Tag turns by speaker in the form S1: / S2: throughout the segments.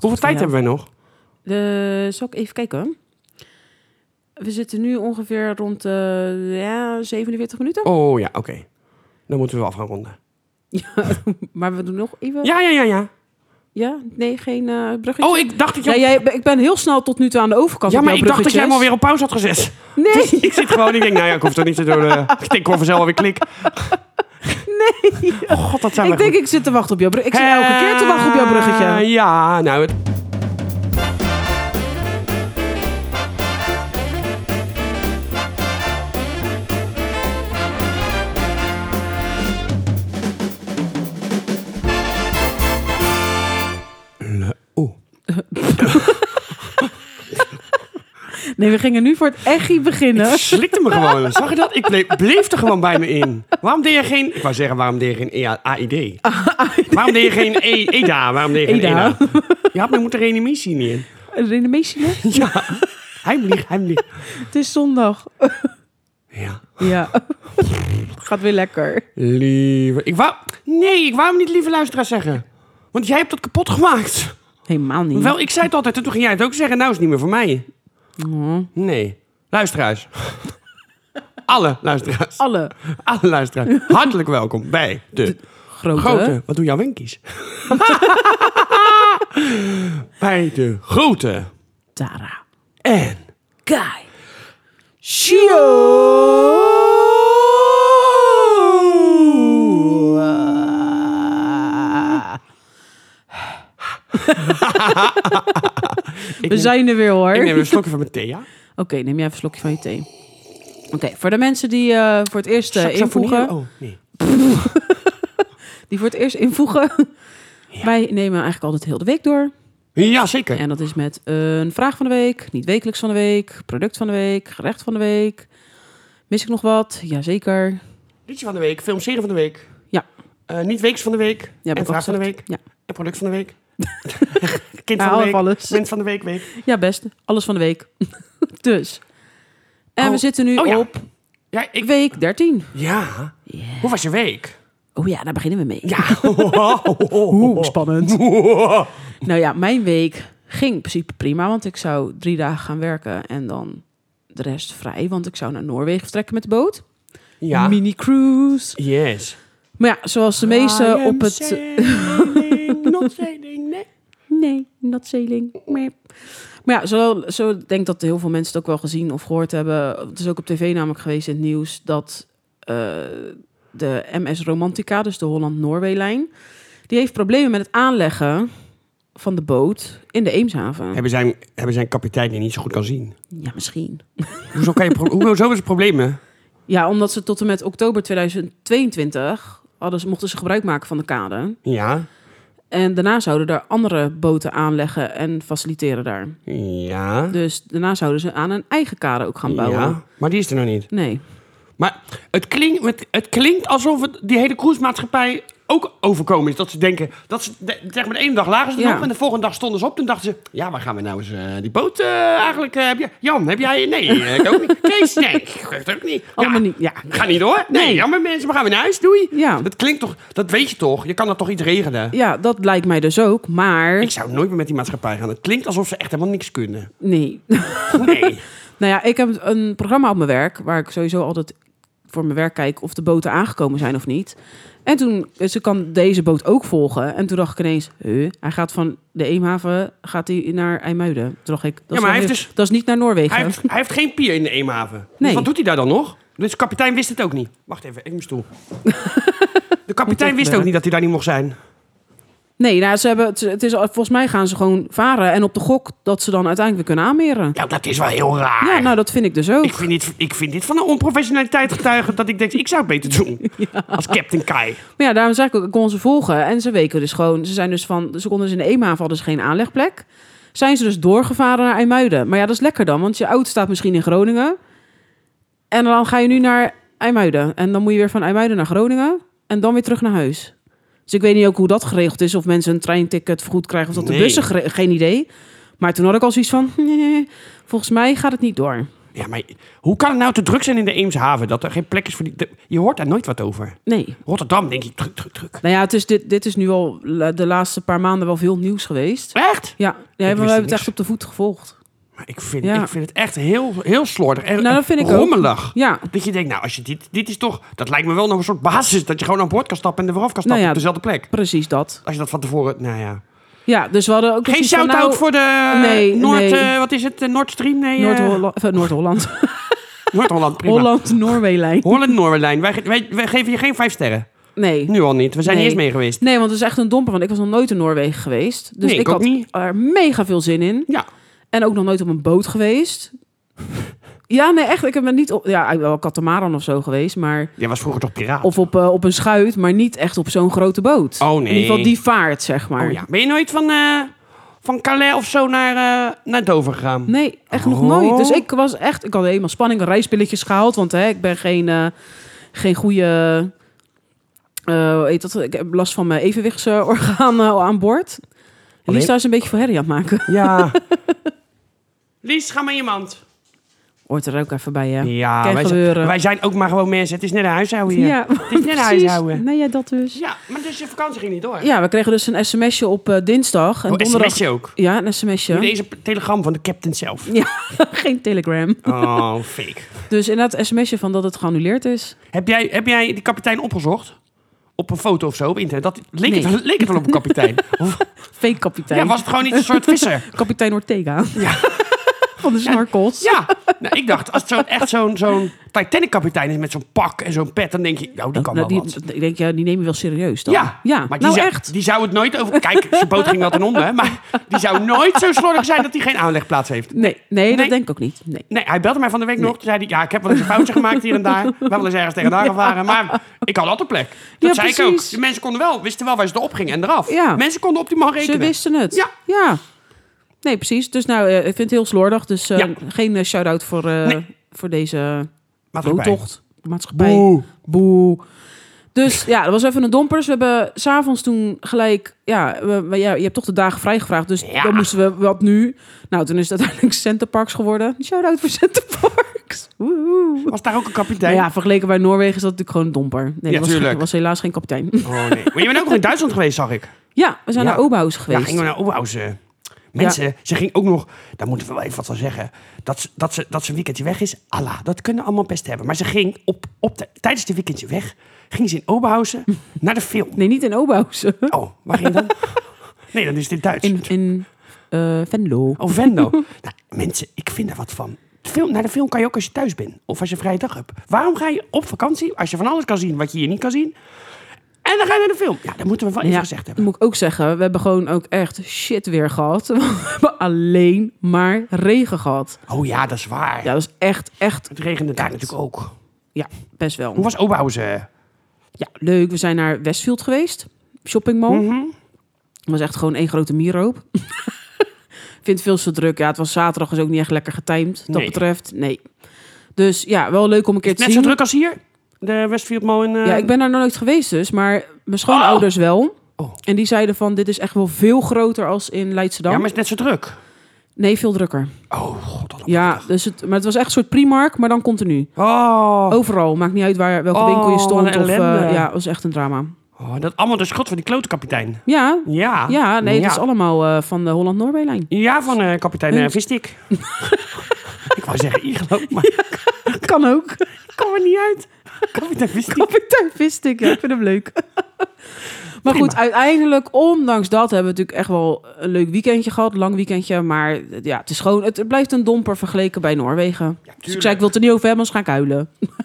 S1: Hoeveel tijd hebben wij nog?
S2: De, zal ik even kijken? We zitten nu ongeveer rond de ja, 47 minuten.
S1: Oh ja, oké. Dan moeten we wel af gaan ronden.
S2: Maar we doen nog even...
S1: Ja, ja, ja, ja.
S2: Ja? Nee, geen eh bruggetje?
S1: Oh, ik dacht dat je...
S2: ja,
S1: op-
S2: jij, ik ben heel snel tot nu toe aan de overkant
S1: ja,
S2: met
S1: maar ik
S2: jouw
S1: dacht dat jij hem
S2: bruggetjes.
S1: alweer op pauze had gezet.
S2: Nee,
S1: ik zit gewoon, ik denk, nou ja, ik hoef toch niet te doen. eh, ik hoor vanzelf alweer klik.
S2: nee.
S1: Oh god, dat zijn
S2: ik
S1: we
S2: denk, ik zit te wachten op jouw bruggetje. Ik zit elke keer te wachten op jouw bruggetje.
S1: Ja, nou... Het... Le- Oeh.
S2: Nee, we gingen nu voor het echi beginnen.
S1: Ik slikte me gewoon. Zag je dat? Ik bleef, bleef er gewoon bij me in. Waarom deed je geen... Ik wou zeggen, waarom deed je geen E EA AID?
S2: Ah,
S1: Waarom deed je geen E- EDA? Waarom deed je geen
S2: EDA?
S1: EDA? Je had me moeten reanimatie niet in.
S2: Renomation,
S1: Ja. Heimlich, heimlich.
S2: het is zondag.
S1: Ja.
S2: Ja, gaat weer lekker.
S1: Lieve... Ik wou... Nee, ik wou hem niet lieve luisteraars zeggen. Want jij hebt dat kapot gemaakt.
S2: Helemaal niet.
S1: Wel, ik zei het altijd en toen ging jij het ook zeggen. Nou is het niet meer voor mij. Nee. Luisteraars. Alle luisteraars.
S2: Alle
S1: Alle luisteraars. Hartelijk welkom bij de...
S2: grote.
S1: Grote, wat doen jouw wenkies? Bij de grote
S2: Tara.
S1: en
S2: Kai.
S1: show.
S2: We zijn er weer hoor.
S1: Ik neem
S2: Oké,
S1: een slokje van mijn thee, ja?
S2: neem jij even een slokje van je thee. Oké, voor de mensen die eh, voor het eerst eh,
S1: Saxofonie?
S2: invoegen.
S1: Oh, nee.
S2: Die voor het eerst invoegen. Wij nemen eigenlijk altijd heel de week door.
S1: Ja, zeker.
S2: En dat is met een vraag van de week, niet wekelijks van de week, product van de week, gerecht van de week. Mis ik nog wat? Jazeker.
S1: Liedje van de week, filmserie van de week.
S2: Ja.
S1: Eh, niet weeks van de week.
S2: Ja,
S1: en
S2: heb ik
S1: vraag
S2: ook
S1: van de week.
S2: gezegd. Ja.
S1: En product van de week. kind
S2: Ja,
S1: van de week.
S2: alles.
S1: Mens van de week, week.
S2: ja, best. Alles van de week. dus. En
S1: Oh.
S2: we zitten nu
S1: Oh ja.
S2: op
S1: Ja, ik...
S2: week 13.
S1: Ja. Hoe was je week?
S2: Oh ja, daar beginnen we mee.
S1: Ja.
S2: Oeh, spannend. nou ja, mijn week ging in principe prima, want ik zou drie dagen gaan werken en dan de rest vrij, want ik zou naar Noorwegen vertrekken met de boot.
S1: ja.
S2: Mini cruise.
S1: Yes.
S2: Maar ja, zoals de meeste op het.
S1: Not sailing, nee.
S2: Nee, not sailing. Maar maar ja, zo, zo ik denk dat heel veel mensen het ook wel gezien of gehoord hebben. Het is ook op tv namelijk geweest in het nieuws dat eh, de MS Romantica, dus de Holland-Noorwee-lijn, die heeft problemen met het aanleggen van de boot in de Eemshaven.
S1: Hebben zijn, hebben zijn kapitein die niet zo goed kan zien.
S2: Ja, misschien.
S1: Hoezo, kan je pro- hoezo hebben ze problemen?
S2: Ja, omdat ze tot en met oktober 2022 hadden, ze- mochten ze gebruik maken van de kade.
S1: Ja.
S2: En daarna zouden daar andere boten aanleggen en faciliteren daar.
S1: Ja.
S2: Dus daarna zouden ze aan een eigen kade ook gaan bouwen.
S1: Ja. Maar die is er nog niet.
S2: Nee.
S1: Maar het klinkt, het, het klinkt alsof het die hele cruisemaatschappij ook overkomen is. Dat ze denken, dat ze, de, zeg maar de ene dag lagen ze
S2: Ja.
S1: erop en de volgende dag stonden ze op. Toen dachten ze, ja, waar gaan we nou eens eh, die boot eh, eigenlijk? eh, heb jij, Jan, heb jij? Nee, eh, ik ook niet. Kees, nee, ik weet het ook niet.
S2: Allemaal niet. Ja.
S1: Ga niet hoor. Nee,
S2: Nee.
S1: jammer mensen, we gaan weer naar huis, doei.
S2: Ja.
S1: Dat klinkt toch, dat weet je toch? Je kan dat toch iets regelen?
S2: ja, dat lijkt mij dus ook. Maar
S1: Ik zou nooit meer met die maatschappij gaan. Het klinkt alsof ze echt helemaal niks kunnen.
S2: nee.
S1: Nee.
S2: nou ja, ik heb een programma op mijn werk waar ik sowieso altijd voor mijn werk kijk of de boten aangekomen zijn of niet. En toen, eh, ze kan deze boot ook volgen. En toen dacht ik ineens, huh, hij gaat van de Eemhaven gaat hij naar IJmuiden. Toen dacht ik, dat, is,
S1: maar
S2: wel
S1: hij heeft
S2: heel-
S1: dus-
S2: dat is niet naar Noorwegen.
S1: Hij heeft, hij heeft geen pier in de Eemhaven. Dus
S2: Nee.
S1: wat doet hij daar dan nog? Dus de kapitein wist het ook niet. Wacht even, ik mijn stoel. De kapitein wist ook niet dat hij daar niet mocht zijn.
S2: Nee, nou, ze hebben, het, het is, al- volgens mij gaan ze gewoon varen. En op de gok dat ze dan uiteindelijk weer kunnen aanmeren.
S1: Nou, dat is wel heel raar.
S2: Ja, nou dat vind ik dus ook.
S1: ik, vind dit, ik vind dit van een onprofessionaliteit getuigen dat ik denk, ik zou het beter doen. Als Captain Kai.
S2: Maar ja, daarom zeg ik ook, ik kon ze volgen. En ze weken dus gewoon, ze zijn dus van, ze konden dus in de Eemhaven hadden ze geen aanlegplek. Zijn ze dus doorgevaren naar IJmuiden. Maar ja, dat is lekker dan, want je auto staat misschien in Groningen. En dan ga je nu naar IJmuiden. En dan moet je weer van IJmuiden naar Groningen. En dan weer terug naar huis. Dus ik weet niet ook hoe dat geregeld is. Of mensen een treinticket vergoed krijgen of dat
S1: Nee.
S2: de bussen... gere- Geen idee. Maar toen had ik al zoiets van... nee, volgens mij gaat het niet door.
S1: Ja, maar hoe kan het nou te druk zijn in de Eemshaven? Dat er geen plek is voor die... de- je hoort daar nooit wat over.
S2: Nee.
S1: Rotterdam, denk ik, druk, druk, druk.
S2: Nou ja, het is, dit, dit is nu al la- de laatste paar maanden wel veel nieuws geweest.
S1: Echt?
S2: Ja, ja, maar
S1: wist
S2: we
S1: het
S2: hebben het
S1: niks.
S2: echt op de voet gevolgd.
S1: Maar ik vind,
S2: Ja.
S1: ik vind het echt heel, heel slordig. En,
S2: Nou, dat vind ik ook.
S1: rommelig.
S2: Ja,
S1: Dat je denkt, nou, als je dit, dit is toch... Dat lijkt me wel nog een soort basis. Dat je gewoon aan boord kan stappen en er weer af kan stappen
S2: Nou ja.
S1: op dezelfde plek.
S2: precies dat.
S1: Als je dat van tevoren... Nou ja.
S2: Ja, dus we hadden ook
S1: Geen
S2: zoiets van,
S1: shout-out
S2: nou,
S1: voor de
S2: nee,
S1: Noord...
S2: nee.
S1: eh, wat is het? eh, Nord Stream? Nee, eh,
S2: Noord-Holla- of, eh, Noord-Holland.
S1: Noord-Holland, prima.
S2: Holland-Noorwee-lijn.
S1: Holland-Noorderlijn. Wij, ge- wij, wij geven je geen vijf sterren.
S2: Nee.
S1: Nu al niet. We zijn
S2: Nee.
S1: niet eens mee geweest.
S2: Nee, want het is echt een domper, want ik was nog nooit in Noorwegen geweest. Dus
S1: Nee,
S2: ik
S1: ik ook
S2: had
S1: niet.
S2: er mega veel zin in.
S1: Ja.
S2: En ook nog nooit op een boot geweest. Ja, nee, echt. Ik heb me niet op... Ja, ik ben wel katamaran of zo geweest, maar...
S1: Jij was vroeger toch piraat?
S2: Of op, eh, op een schuit, maar niet echt op zo'n grote boot.
S1: Oh,
S2: In
S1: nee.
S2: ieder geval die vaart, zeg maar.
S1: Oh ja. Ben je nooit van, eh, van Calais of zo naar, eh, naar Dover gegaan?
S2: Nee, echt nog
S1: Oh.
S2: nooit. Dus ik was echt, ik had helemaal spanning, reispilletjes gehaald, want hè, ik ben geen, eh, geen goede, eh, hoe heet dat? Ik heb last van mijn evenwichtsorgaan eh, aan boord.
S1: Alleen-
S2: Lisa is een beetje voor herrie aan het maken.
S1: Ja. Lies, ga maar iemand.
S2: Hoort er ook even bij, hè?
S1: Ja,
S2: Kan
S1: wij zijn,
S2: gebeuren.
S1: wij zijn ook maar gewoon mensen. Het is net een huishouden hier. Het is
S2: nou,
S1: net een huishouden.
S2: Nee, ja, dat dus.
S1: Ja, maar dus je vakantie ging niet door.
S2: Ja, we kregen dus een sms'je op eh, dinsdag. En
S1: oh,
S2: donderdag...
S1: sms je ook.
S2: Ja, een sms'je.
S1: Deze telegram van de captain zelf.
S2: Geen telegram.
S1: Oh, fake.
S2: Dus inderdaad, een sms'je van dat het geannuleerd is.
S1: Heb jij, heb jij die kapitein opgezocht? Op een foto of zo op internet? Dat, leek,
S2: Nee.
S1: het, wel- leek het wel op een kapitein? Of,
S2: Fake kapitein.
S1: ja, was het gewoon niet een soort visser?
S2: Kapitein Ortega.
S1: Ja.
S2: van de snorkels.
S1: Ja, nou, ik dacht, als het zo'n- echt zo'n zo'n Titanic-kapitein is met zo'n pak en zo'n pet, dan denk je, nou, die kan
S2: Nou,
S1: wel
S2: die,
S1: wat.
S2: Ik denk, ja, die nemen we wel serieus dan.
S1: Ja,
S2: ja
S1: maar die,
S2: nou
S1: zou,
S2: echt.
S1: die zou het nooit over... Kijk, zijn boot ging wel ten onder, hè, maar die zou nooit zo slordig zijn dat hij geen aanlegplaats heeft.
S2: Nee, nee, dat
S1: Nee.
S2: denk ik ook niet. Nee.
S1: Nee, hij belde mij van de week nog. Toen zei hij, ja, ik heb wel eens een foutje gemaakt hier en daar. We hebben wel eens ergens tegen daar gevaren. Maar ik had altijd plek. Dat
S2: Ja,
S1: zei ik
S2: precies.
S1: ook. De mensen konden wel, wisten wel waar ze erop gingen en eraf.
S2: Ja.
S1: Mensen konden op die man
S2: Ze
S1: rekenen.
S2: wisten het.
S1: Ja.
S2: Nee, precies. Dus nou, eh, ik vind het heel slordig. Dus eh,
S1: Ja.
S2: geen eh, shout-out voor, eh,
S1: Nee.
S2: voor deze
S1: Maar het was bij.
S2: boottocht. De maatschappij. Boe. Dus ja, dat was even een domper. Dus we hebben s'avonds toen gelijk... Ja, we, we- ja, je hebt toch de dagen vrijgevraagd. Dus
S1: Ja.
S2: dan moesten we wat nu. Nou, toen is het uiteindelijk Centerparks geworden. Shout-out voor Centerparks. Woehoe.
S1: Was daar ook een kapitein?
S2: Nou ja, vergeleken bij Noorwegen is dat natuurlijk gewoon een domper. Nee,
S1: Ja,
S2: dat was,
S1: tuurlijk.
S2: was helaas geen kapitein.
S1: Oh, nee. Maar je bent ook nog in Duitsland geweest, zag ik.
S2: Ja, we zijn
S1: Ja.
S2: naar Oberhaus
S1: Ja,
S2: geweest.
S1: gingen we naar Oberhausen. Mensen, ze ging ook nog... Daar moeten we wel even wat van zeggen. Dat ze, dat ze, dat ze een weekendje weg is. Allah, dat kunnen we allemaal best hebben. Maar ze ging op, op de, tijdens de weekendje weg... ging ze in Oberhausen naar de film.
S2: Nee, niet in Oberhaus.
S1: Oh, waar ging je dan? Nee, dan is dit Duits.
S2: In, in eh, Venlo.
S1: Oh, Venlo. nou, mensen, ik vind er wat van. De film, naar de film kan je ook als je thuis bent. Of als je een vrije dag hebt. Waarom ga je op vakantie als je van alles kan zien wat je hier niet kan zien? En dan ga je naar de film. Ja, dat moeten we wel even gezegd hebben.
S2: moet ik ook zeggen, we hebben gewoon ook echt shit weer gehad. We hebben alleen maar regen gehad.
S1: Oh ja, dat is waar.
S2: Ja, dat is echt, echt,
S1: Het regende daar natuurlijk ook.
S2: ja, best wel.
S1: Hoe was Oberhausen?
S2: Ja, leuk. We zijn naar Westfield geweest. Shoppingmall.
S1: Mhm.
S2: Het was echt gewoon één grote mierhoop. Ik vind het veel te druk. Ja, het was zaterdag was ook niet echt lekker getimed. Dat
S1: Nee.
S2: betreft, nee. Dus ja, wel leuk om een keer te
S1: Net zo
S2: zien.
S1: druk als hier? De Westfield Mall in... eh,
S2: Ja, ik ben daar nog nooit geweest dus. Maar mijn schoonouders wel.
S1: Oh.
S2: En die zeiden van, dit is echt wel veel groter als in
S1: Ja,
S2: Leidschendam.
S1: maar het is net zo druk.
S2: Nee, veel drukker.
S1: Oh, god. allemaal.
S2: Ja, dus het, maar het was echt een soort Primark, maar dan continu.
S1: Oh.
S2: Overal, maakt niet uit waar, welke
S1: Oh,
S2: winkel je stond.
S1: wat een
S2: Of, eh,
S1: ellende.
S2: ja, het was echt een drama.
S1: Oh, dat allemaal de schot van die klote kapitein.
S2: Ja,
S1: Ja.
S2: ja nee, het is allemaal eh, van de Holland-Noorwee-lijn.
S1: Ja, van eh, kapitein eh, Vistik. ik wou zeggen Iglo, maar ik
S2: Kan ook.
S1: kom er niet uit. Kapitein Vistik.
S2: Kapitein Vistik, ja, ik vind hem leuk. maar goed, uiteindelijk, ondanks dat, hebben we natuurlijk echt wel een leuk weekendje gehad. Lang weekendje, maar eh, ja, het is gewoon, het, het blijft een domper vergeleken bij Noorwegen. dus ik
S1: tuurlijk.
S2: zei, ik wil het er niet over hebben, anders ga ik huilen.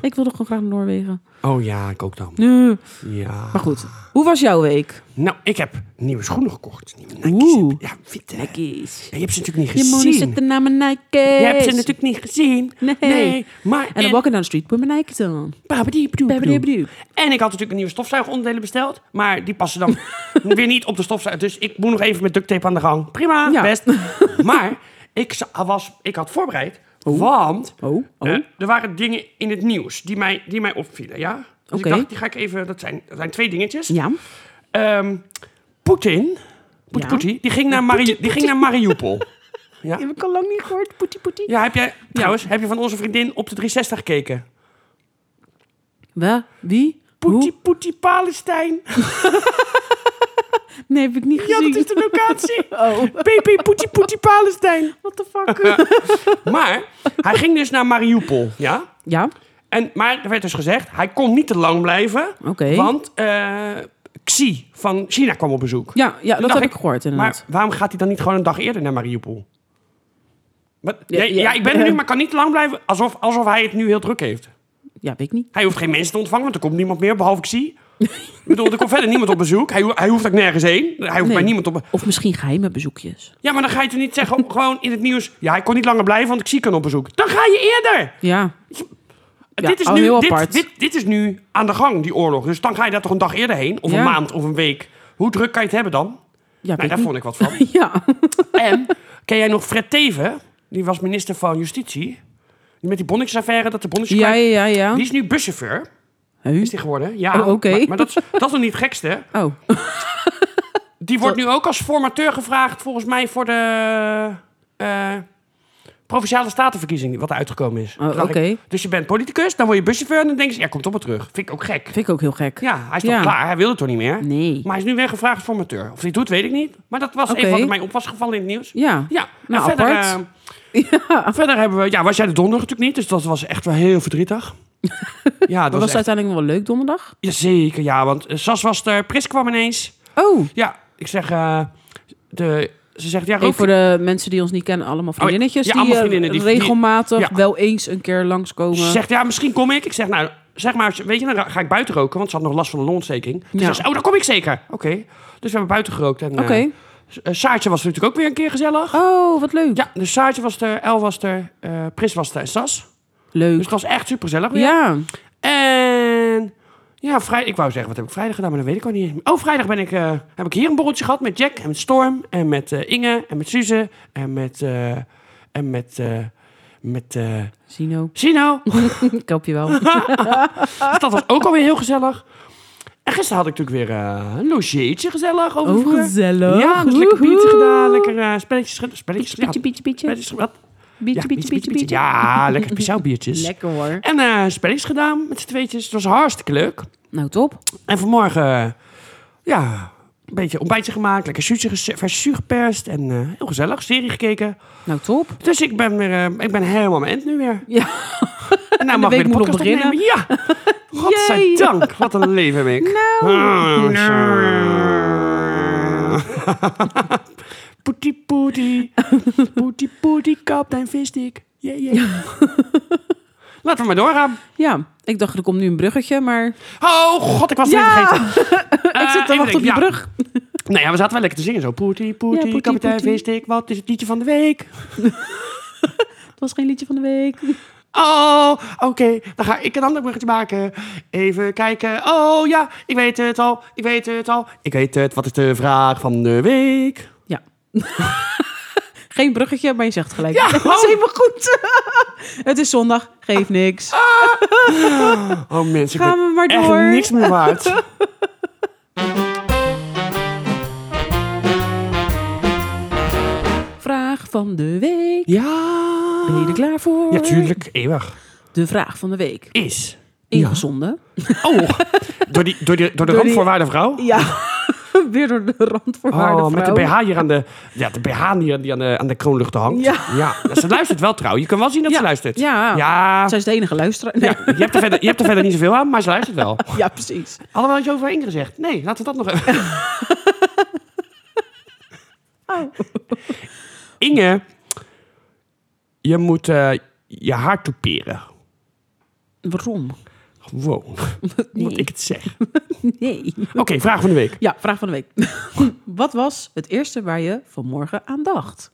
S2: Ik wilde gewoon graag naar Noorwegen.
S1: Oh ja, ik ook dan.
S2: Nee.
S1: Ja.
S2: Maar goed, hoe was jouw week?
S1: Nou, ik heb nieuwe schoenen gekocht. Nieuwe Nike's.
S2: Oeh.
S1: Ja, witte.
S2: Lekkies.
S1: Ja, je hebt ze natuurlijk niet
S2: Je moet
S1: gezien.
S2: niet zitten naar mijn Nike's.
S1: Je hebt ze natuurlijk niet gezien.
S2: Nee.
S1: Maar
S2: En dan
S1: en-
S2: walk ik down the street with mijn Nike's on.
S1: Babadiebdoe.
S2: Babadiebdoe.
S1: En ik had natuurlijk een nieuwe stofzuigeronderdelen besteld. Maar die passen dan weer niet op de stofzuiger. Dus ik moet nog even met duct tape aan de gang. Prima,
S2: Ja.
S1: best. Maar ik, za- was, ik had voorbereid. Want
S2: Oh, oh.
S1: eh, er waren dingen in het nieuws die mij, die mij opvielen. Ja? Dus
S2: Oké.
S1: ik dacht, die ga ik even... Dat zijn, dat zijn twee dingetjes.
S2: Ja.
S1: Ehm, Poetin... Poet-
S2: Ja.
S1: Poetin, die ging naar, Mari- die ging naar Mariupol. Ja.
S2: Ik heb ik al lang niet gehoord. Poetie, poetie.
S1: Ja, heb jij, trouwens, heb je van onze vriendin op de 360 gekeken?
S2: Wa? Wie?
S1: Poetie,
S2: Hoe?
S1: poetie, Palestijn.
S2: Nee, heb ik niet
S1: Ja,
S2: gezien.
S1: dat is de locatie.
S2: Oh,
S1: PP, poetie, poetie, Palestijn.
S2: what the fuck?
S1: Maar hij ging dus naar Mariupol, ja?
S2: ja,
S1: En, maar er werd dus gezegd, hij kon niet te lang blijven.
S2: oké.
S1: Want eh, Xi van China kwam op bezoek.
S2: Ja,
S1: dacht
S2: ja dat heb
S1: Nou, ik,
S2: ik gehoord inderdaad.
S1: Maar waarom gaat hij dan niet gewoon een dag eerder naar Mariupol? Wat?
S2: Ja,
S1: Ja, ja,
S2: ja.
S1: ik ben er nu, maar kan niet te lang blijven. Alsof, alsof hij het nu heel druk heeft.
S2: Ja, weet ik niet.
S1: Hij hoeft geen mensen te ontvangen, want er komt niemand meer, behalve Xi. ik bedoel, er komt verder niemand op bezoek. Hij, ho- hij hoeft ook nergens heen. Hij hoeft
S2: Nee.
S1: bij niemand op...
S2: Of misschien geheime bezoekjes.
S1: Ja, maar dan ga je toch niet zeggen, gewoon in het nieuws... Ja, hij kon niet langer blijven, want Xi kan op bezoek. Dan ga je eerder!
S2: Ja, Ja,
S1: dit, is
S2: al
S1: nu,
S2: heel
S1: dit,
S2: apart.
S1: Dit, dit is nu aan de gang, die oorlog. Dus dan ga je daar toch een dag eerder heen? Of
S2: Ja.
S1: een maand, of een week. Hoe druk kan je het hebben dan?
S2: ja
S1: Nou,
S2: weet
S1: daar
S2: ik
S1: vond ik wat van.
S2: niet. Ja,
S1: En ken jij nog Fred Teven? Die was minister van Justitie. Die met die bonnetjesaffaire, dat de bonnetjes
S2: ja, ja,
S1: kwijt-
S2: ja. ja.
S1: Die is nu buschauffeur.
S2: Huh?
S1: Is die geworden? Ja.
S2: Oh, oké.
S1: Maar, maar dat, is, dat is nog niet het gekste.
S2: Oh,
S1: Die wordt nu ook als formateur gevraagd, volgens mij, voor de eh, Provinciale Statenverkiezing, wat er uitgekomen is.
S2: Oh,
S1: Dacht ik,
S2: oké.
S1: Dus je bent politicus, dan word je buschauffeur en dan denk je, ja, komt op maar terug. Vind ik ook gek.
S2: vind ik ook heel gek.
S1: Ja, hij is toch
S2: Ja.
S1: klaar? Hij wil het toch niet meer?
S2: Nee.
S1: Maar hij is nu weer gevraagd als formateur. Of hij het doet, weet ik niet. Maar dat was
S2: Oké.
S1: even wat mij op was gevallen in het nieuws.
S2: Ja.
S1: Ja,
S2: Nou,
S1: en verder,
S2: apart.
S1: eh, verder hebben we... Ja, was jij de donderdag natuurlijk niet, dus dat was echt wel heel verdrietig. ja, dat was,
S2: Maar was het
S1: echt...
S2: uiteindelijk nog wel leuk donderdag?
S1: Ja, zeker, ja, want eh, Sas was er, Pris kwam ineens.
S2: Oh,
S1: Ja, ik zeg... eh, de, ze zegt, ja,
S2: even
S1: Rook,
S2: voor de mensen die ons niet kennen, allemaal vriendinnetjes.
S1: Oh, ja, allemaal
S2: die, eh,
S1: vriendinnen die- die-
S2: regelmatig
S1: ja.
S2: wel eens een keer langskomen.
S1: ze zegt, ja, misschien kom ik. Ik zeg, nou, zeg maar, weet je, dan ga ik buiten roken, want ze had nog last van een longontsteking. Toen
S2: Ja.
S1: zegt ze, oh, dan kom ik zeker. Oké, dus we hebben buiten gerookt. en, eh,
S2: Oké.
S1: eh, Saartje was er natuurlijk ook weer een keer gezellig.
S2: Oh, wat leuk.
S1: Ja, dus Saartje was er, El was er, eh, Pris was er en Sas. Dus oh,
S2: Leuk.
S1: het was echt super gezellig weer.
S2: Ja.
S1: En ja, vrij, ik wou zeggen, wat heb ik vrijdag gedaan, maar dat weet ik al niet. Oh, vrijdag ben ik, eh, heb ik hier een borreltje gehad met Jack en met Storm en met eh, Inge en met Suze en met... eh, en met eh, met eh,
S2: Sino,
S1: Sino.
S2: ik help je wel.
S1: Dus dat was ook alweer heel gezellig. En gisteren had ik natuurlijk weer eh, een logeetje gezellig over
S2: Oh,
S1: vroeger.
S2: gezellig.
S1: Ja, dus lekker biertje
S2: Woehoe.
S1: gedaan, lekker eh, spelletjes, ge- spelletjes,
S2: Pietje,
S1: ja,
S2: pietje, pietje.
S1: spelletjes, wat?
S2: Pietje,
S1: Ja,
S2: pietje, pietje, pietje.
S1: Ja, lekker speciaal biertjes.
S2: Lekker hoor.
S1: En eh spelletjes gedaan met z'n tweetjes. Het was hartstikke leuk.
S2: Nou, top.
S1: En vanmorgen, eh, ja, een beetje ontbijtje gemaakt. Lekker zuurtje ges- vers zuur geperst. En eh, heel gezellig, serie gekeken.
S2: Nou, top.
S1: Dus ik ben, weer, eh, ik ben helemaal mijn end nu weer.
S2: Ja.
S1: En nou mag
S2: week
S1: weer de
S2: moet nog
S1: podcast
S2: beginnen.
S1: opnemen. Ja, godzijdank. Wat een leven heb ik. Ah,
S2: Nou.
S1: Poetie poetie. Poetie poetie, kaptein visdik. Yeah, yeah. Laten we maar doorgaan.
S2: Ja, ik dacht er komt nu een bruggetje, maar
S1: Oh god, ik was het
S2: Ja.
S1: even vergeten. Eh,
S2: ik zit te
S1: even
S2: wachten op die
S1: denken, ja.
S2: brug.
S1: Nou ja, we zaten wel lekker te zingen zo. Poetie
S2: Ja,
S1: poetie,
S2: poetie,
S1: kapitein
S2: poetie.
S1: visdik. Wat is het liedje van de week?
S2: Dat was geen liedje van de week.
S1: Oh, oké, dan ga ik een ander bruggetje maken. Even kijken. Oh ja, ik weet het al, ik weet het al. Ik weet het, wat is de vraag van de week?
S2: Ja. geen bruggetje, maar je zegt gelijk.
S1: Ja,
S2: dat is
S1: oh.
S2: helemaal goed. het is zondag, geeft niks.
S1: Ah. Oh mensen, ik
S2: Gaan
S1: ben
S2: we maar
S1: echt
S2: door.
S1: niks meer waard.
S2: Vraag van de week.
S1: ja.
S2: Ben je er klaar voor?
S1: Ja, tuurlijk, eeuwig.
S2: De vraag van de week.
S1: Is.
S2: Ingezonden.
S1: Oh, door, die, door, die, door de
S2: die-
S1: randvoorwaarde vrouw?
S2: Ja, weer door de rand voor haar
S1: Oh,
S2: de
S1: met de
S2: vrouw.
S1: BH hier aan de, ja, de BH hier die aan de, aan de kroonluchten hangt.
S2: Ja.
S1: Ze luistert wel trouw. Je kan wel zien dat
S2: Ja,
S1: ze luistert.
S2: ja.
S1: Ja.
S2: Zij is de enige luisteraar. Nee,
S1: Ja, je, hebt er verder, je hebt er verder niet zoveel aan, maar ze luistert wel.
S2: ja. precies.
S1: Hadden we al iets over Inge gezegd? Nee, laten we dat nog even. Oh. Inge, je moet eh, je haar toeperen.
S2: Waarom?
S1: Gewoon, moet ik het zeggen.
S2: Nee.
S1: Oké, vraag van de week.
S2: Ja, vraag van de week. Wat was het eerste waar je vanmorgen aan dacht?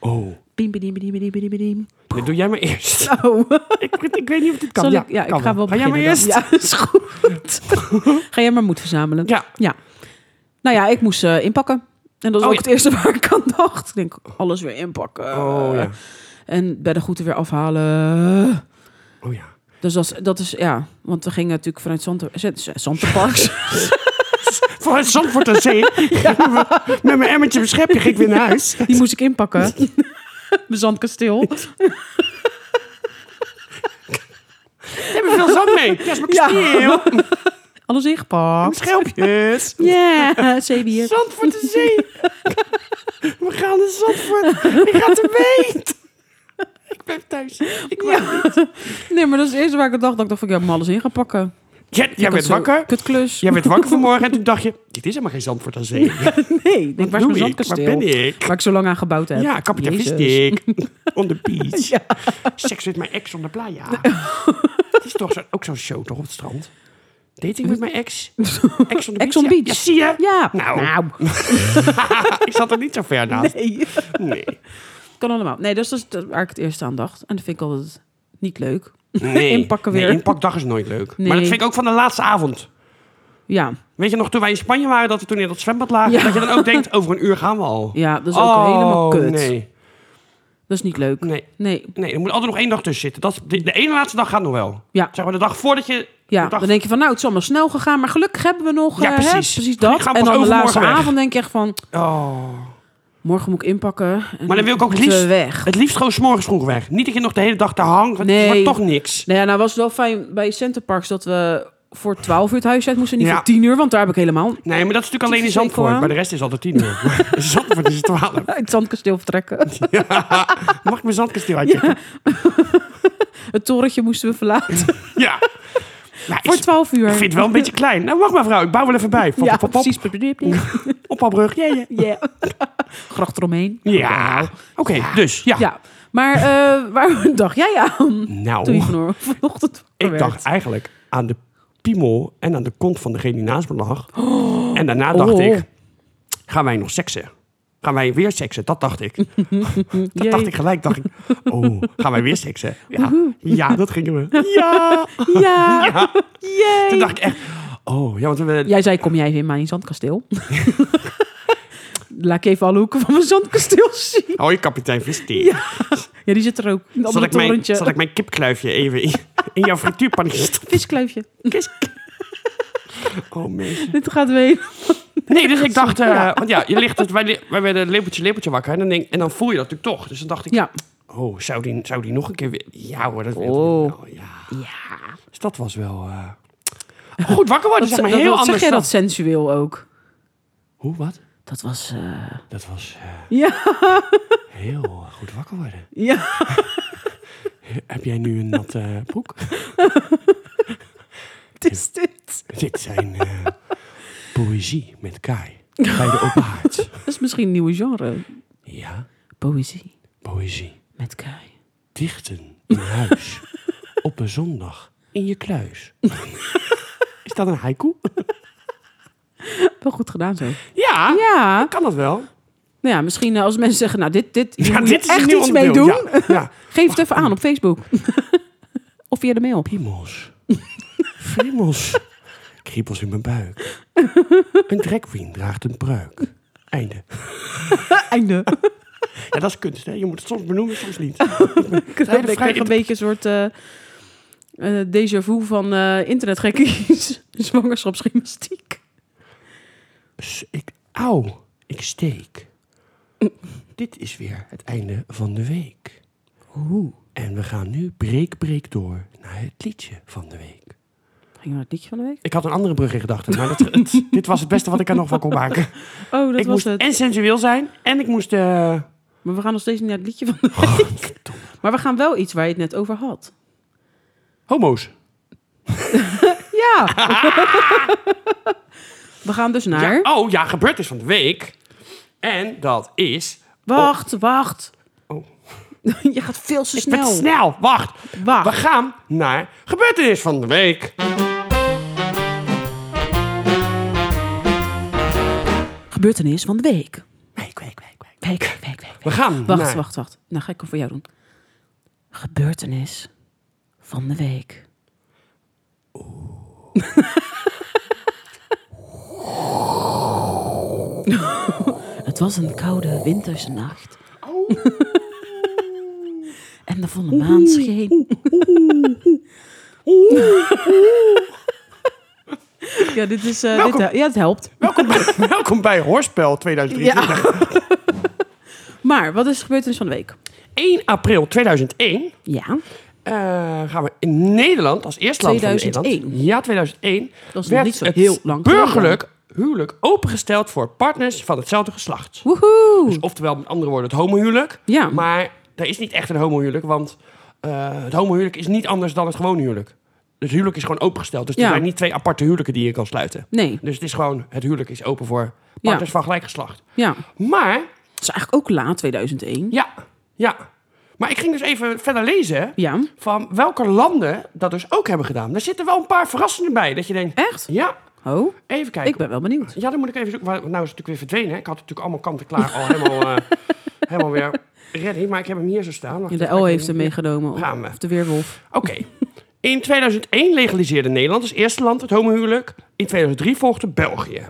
S1: Oh,
S2: Bim, bim, bim, bim, bim, bim, bim.
S1: dat doe jij maar eerst.
S2: Oh.
S1: ik, ik weet niet of dit kan.
S2: Zal ik, ja,
S1: kan
S2: ik ga wel
S1: Ga jij maar
S2: beginnen
S1: eerst?
S2: dan. Ja, is goed. ga jij maar moed verzamelen.
S1: Ja.
S2: Ja. Nou ja, ik moest eh, inpakken. En dat was
S1: Oh,
S2: ook het eerste waar ik aan dacht. Ik denk, alles weer inpakken.
S1: Oh ja.
S2: En bij de groeten weer afhalen.
S1: Oh ja.
S2: Dus dat is, dat is ja, want we gingen natuurlijk vanuit Zante- Z- Z- Zantenparks.
S1: Voor het Zandvoort aan Zee. Met mijn emmertje beschepje ging ik weer naar huis.
S2: Die moest ik inpakken. Bezand kasteel.
S1: Ik heb er veel zand mee. Ja, is mijn
S2: Ja.
S1: kasteel.
S2: Alles ingepakt.
S1: Schelpjes.
S2: Ja, zeewier.
S1: Zand voor de zee. We gaan naar Zandvoort. Ik ga te weet. Ik blijf thuis. Ik wou-
S2: Ja. Nee, maar dat is het eerste waar ik aan dacht. Dat ik dacht van, ik heb hem alles in gaan pakken.
S1: Jij- Jij
S2: Ik had
S1: werd
S2: zo'n
S1: wakker.
S2: Kutklus.
S1: Jij werd wakker vanmorgen en toen dacht je... Dit is helemaal geen Zandvoort aan zee.
S2: nee,
S1: Doe
S2: ik denk, waar is mijn
S1: ik? Waar
S2: zandkasteel?
S1: ben ik?
S2: Waar ik zo lang aan gebouwd heb.
S1: Ja, kapitein
S2: Jezus.
S1: Vistik. On the beach. Seks met mijn ex on the playa. Het is toch zo, ook zo'n show, toch, op het strand? Dating met mijn ex. Ex on the
S2: Ex on
S1: ja.
S2: beach.
S1: Ja, zie je?
S2: Ja.
S1: Nou. Ik zat er niet zo ver naast.
S2: Nee.
S1: Nee.
S2: Kan allemaal. Nee, dat is dus dat- waar ik het eerst aan dacht. En dat vind ik altijd niet leuk.
S1: nee.
S2: Inpakken weer.
S1: Nee, inpakdag is nooit leuk.
S2: Nee.
S1: Maar dat vind ik ook van de laatste avond.
S2: Ja,
S1: Weet je nog, toen wij in Spanje waren, dat we toen in dat zwembad lagen.
S2: Ja.
S1: Dat je dan ook denkt, over een uur gaan we al.
S2: ja dat is ook
S1: oh,
S2: helemaal kut.
S1: nee.
S2: Dat is niet leuk.
S1: Nee.
S2: Nee.
S1: Nee, er moet altijd nog één dag tussen zitten. Dat is, de, de ene laatste dag gaat nog wel.
S2: Ja.
S1: Zeg maar de dag voordat je...
S2: Ja,
S1: de dag
S2: dan denk je van, nou, het is allemaal snel gegaan, maar gelukkig hebben we nog
S1: Ja,
S2: eh,
S1: precies.
S2: Hè, precies
S1: Ik
S2: dat.
S1: ga pas
S2: En dan de
S1: overmorgen
S2: laatste
S1: weg.
S2: avond denk je echt van,
S1: Oh.
S2: morgen moet ik inpakken. En
S1: Maar dan wil ik ook
S2: moeten we
S1: liefst-
S2: weg.
S1: Het liefst gewoon 's morgens vroeg weg. Niet dat je nog de hele dag te hangt, want
S2: Nee.
S1: het wordt toch niks.
S2: Nou ja, nou was het wel fijn bij Centerparks dat we voor 12 uur het huis uit moesten. Niet
S1: Ja.
S2: voor 10 uur, want daar heb ik helemaal
S1: Nee, maar dat is natuurlijk alleen in
S2: Tyfus hekel
S1: Zandvoort.
S2: aan.
S1: Maar de rest is altijd tien uur. Maar in Zandvoort is het twaalf.
S2: uit het zandkasteel vertrekken.
S1: Mag ik mijn zandkasteel uitchecken? Ja.
S2: Het torentje moesten we verlaten
S1: Maar
S2: voor
S1: ik,
S2: 12 uur.
S1: ik vind het wel een beetje klein. Nou, wacht maar vrouw, ik bouw wel even bij. Pop,
S2: Ja,
S1: pop, pop, pop.
S2: precies.
S1: Op Albrug, ja, ja.
S2: Ja. Gracht eromheen.
S1: Ja. Oké, dus ja.
S2: Ja, maar eh, waar dacht jij aan toen je
S1: Nou,
S2: vanochtend vanochtend
S1: ik
S2: wakker werd?
S1: dacht eigenlijk aan de piemel en aan de kont van degene die naast me lag. En daarna dacht
S2: Oh.
S1: ik, gaan wij nog seksen? Gaan wij weer seksen? Dat dacht ik. Dat
S2: Jee.
S1: dacht ik gelijk. Dacht ik, oh, gaan wij weer seksen? Ja, ja dat gingen we. Ja.
S2: Ja, Yay.
S1: Toen dacht ik echt, oh, ja, want we...
S2: Jij zei, kom jij even in mijn zandkasteel? Laat ik even alle hoeken van mijn zandkasteel zien.
S1: Hoi, Oh, kapitein Visteer.
S2: Ja, die zit er ook. Een
S1: zal,
S2: andere
S1: ik mijn,
S2: torentje.
S1: zal ik mijn kipkluifje even in, in jouw frituurpan stoppen?
S2: Viskluifje.
S1: Oh, meisje.
S2: Dit gaat weer.
S1: Nee, dus ik dacht, eh, want ja, je ligt, het- wij, li- wij werden lepeltje, lepeltje wakker. En dan, denk, en dan voel je dat natuurlijk toch. Dus dan dacht ik,
S2: Ja.
S1: oh, zou die, zou die nog een keer weer... Ja hoor, dat
S2: Oh.
S1: wil ik wel, ja.
S2: Ja.
S1: Dus dat was wel... eh, Goed wakker worden,
S2: Dat,
S1: zeg maar.
S2: dat-
S1: heel
S2: dat
S1: anders
S2: zeg jij
S1: dan-
S2: dat sensueel ook?
S1: Hoe, wat?
S2: Dat was... eh,
S1: Dat was eh,
S2: Ja.
S1: heel eh, goed wakker worden.
S2: Ja.
S1: Heb jij nu een natte eh, broek?
S2: Het is dit.
S1: Dit zijn eh, poëzie met Kai. Bij de open haard.
S2: Dat is misschien een nieuwe genre.
S1: Ja,
S2: Poëzie
S1: poëzie.
S2: met Kai.
S1: Dichten in huis. Op een zondag. In je kluis. Is dat een haiku?
S2: Wel goed gedaan zo.
S1: Ja,
S2: Ja.
S1: kan dat wel.
S2: Nou ja, misschien eh, als mensen zeggen, nou, dit, dit, hier
S1: Ja,
S2: moet je
S1: een
S2: echt
S1: nieuw
S2: iets mee doen.
S1: onderdeel. Ja, ja.
S2: Geef het even aan op Facebook. of via de mail.
S1: Piemels. Friemels. Kriebels in mijn buik. Een drag queen draagt een pruik. Einde.
S2: Einde.
S1: Ja, dat is kunst, hè? Je moet het soms benoemen, soms niet.
S2: Dan
S1: Vrij-
S2: krijg
S1: vrij-
S2: ik een beetje een soort eh eh, déjà vu van eh internetgekkies. Zwangerschapsgymnastiek.
S1: Dus ik, auw, ik steek. Dit is weer het einde van de week.
S2: Oeh.
S1: En we gaan nu breek, breek door naar het liedje van de week.
S2: Ging naar het liedje van de week?
S1: Ik had een andere brug in gedachten, maar dat, het- dit was het beste wat ik er nog van kon maken.
S2: Oh, dat
S1: ik
S2: was
S1: moest
S2: het.
S1: en sensueel zijn en ik moest... eh,
S2: Maar we gaan nog steeds niet naar het liedje van de week. maar we gaan wel iets waar je het net over had.
S1: homo's.
S2: Ja. we gaan dus naar...
S1: Ja, oh ja, gebeurd is van de week. En dat is...
S2: Wacht, wacht.
S1: Oh.
S2: je gaat veel te
S1: Ik ben
S2: snel.
S1: te snel, wacht.
S2: Wacht.
S1: We gaan naar gebeurtenis van de week.
S2: Gebeurtenis van de week.
S1: Week, week, week, week.
S2: Week, week, week. week.
S1: We gaan
S2: Wacht,
S1: naar...
S2: wacht, wacht. Nou ga ik hem voor jou doen. Gebeurtenis van de week. Het was een koude winterse nacht. en de volle maan scheen. ja, dit is. eh, dit,
S1: Welkom.
S2: ja, het helpt.
S1: Welkom bij, welkom bij Hoorspel 2023.
S2: Maar wat is de gebeurtenis van de week?
S1: 1 april 2001
S2: Ja.
S1: eh, gaan we in Nederland als eerste land van
S2: 2001.
S1: Nederland... Ja, 2001.
S2: Dat is nog
S1: werd
S2: niet zo
S1: het
S2: heel lang geleden.
S1: burgerlijk huwelijk opengesteld voor partners van hetzelfde geslacht. Dus
S2: Woehoe.
S1: Oftewel, met andere woorden, het homohuwelijk.
S2: Ja.
S1: Maar er is niet echt een homohuwelijk, want eh, het homohuwelijk is niet anders dan het gewone huwelijk. Dus huwelijk is gewoon opengesteld. Dus er
S2: Ja.
S1: zijn niet twee aparte huwelijken die je kan sluiten.
S2: Nee.
S1: Dus het is gewoon, het huwelijk is open voor partners van gelijk geslacht.
S2: Ja.
S1: Maar,
S2: Het is eigenlijk ook laat, 2001.
S1: ja, ja. Maar ik ging dus even verder lezen
S2: Ja.
S1: van welke landen dat dus ook hebben gedaan. Er zitten wel een paar verrassingen bij, dat je denkt...
S2: Echt?
S1: Ja,
S2: Oh,
S1: even kijken.
S2: ik ben wel benieuwd.
S1: Ja, dan moet ik even zoeken. Maar Nou is het natuurlijk weer verdwenen. hè. Ik had het natuurlijk allemaal kanten klaar al helemaal, eh, helemaal weer ready. Maar ik heb hem hier zo staan. Wacht
S2: Ja, de
S1: even,
S2: L
S1: ik-
S2: heeft hem meegenomen.
S1: Gaan we.
S2: Of de weerwolf.
S1: Oké. In 2001 legaliseerde Nederland als eerste land het homohuwelijk. In 2003 volgde België.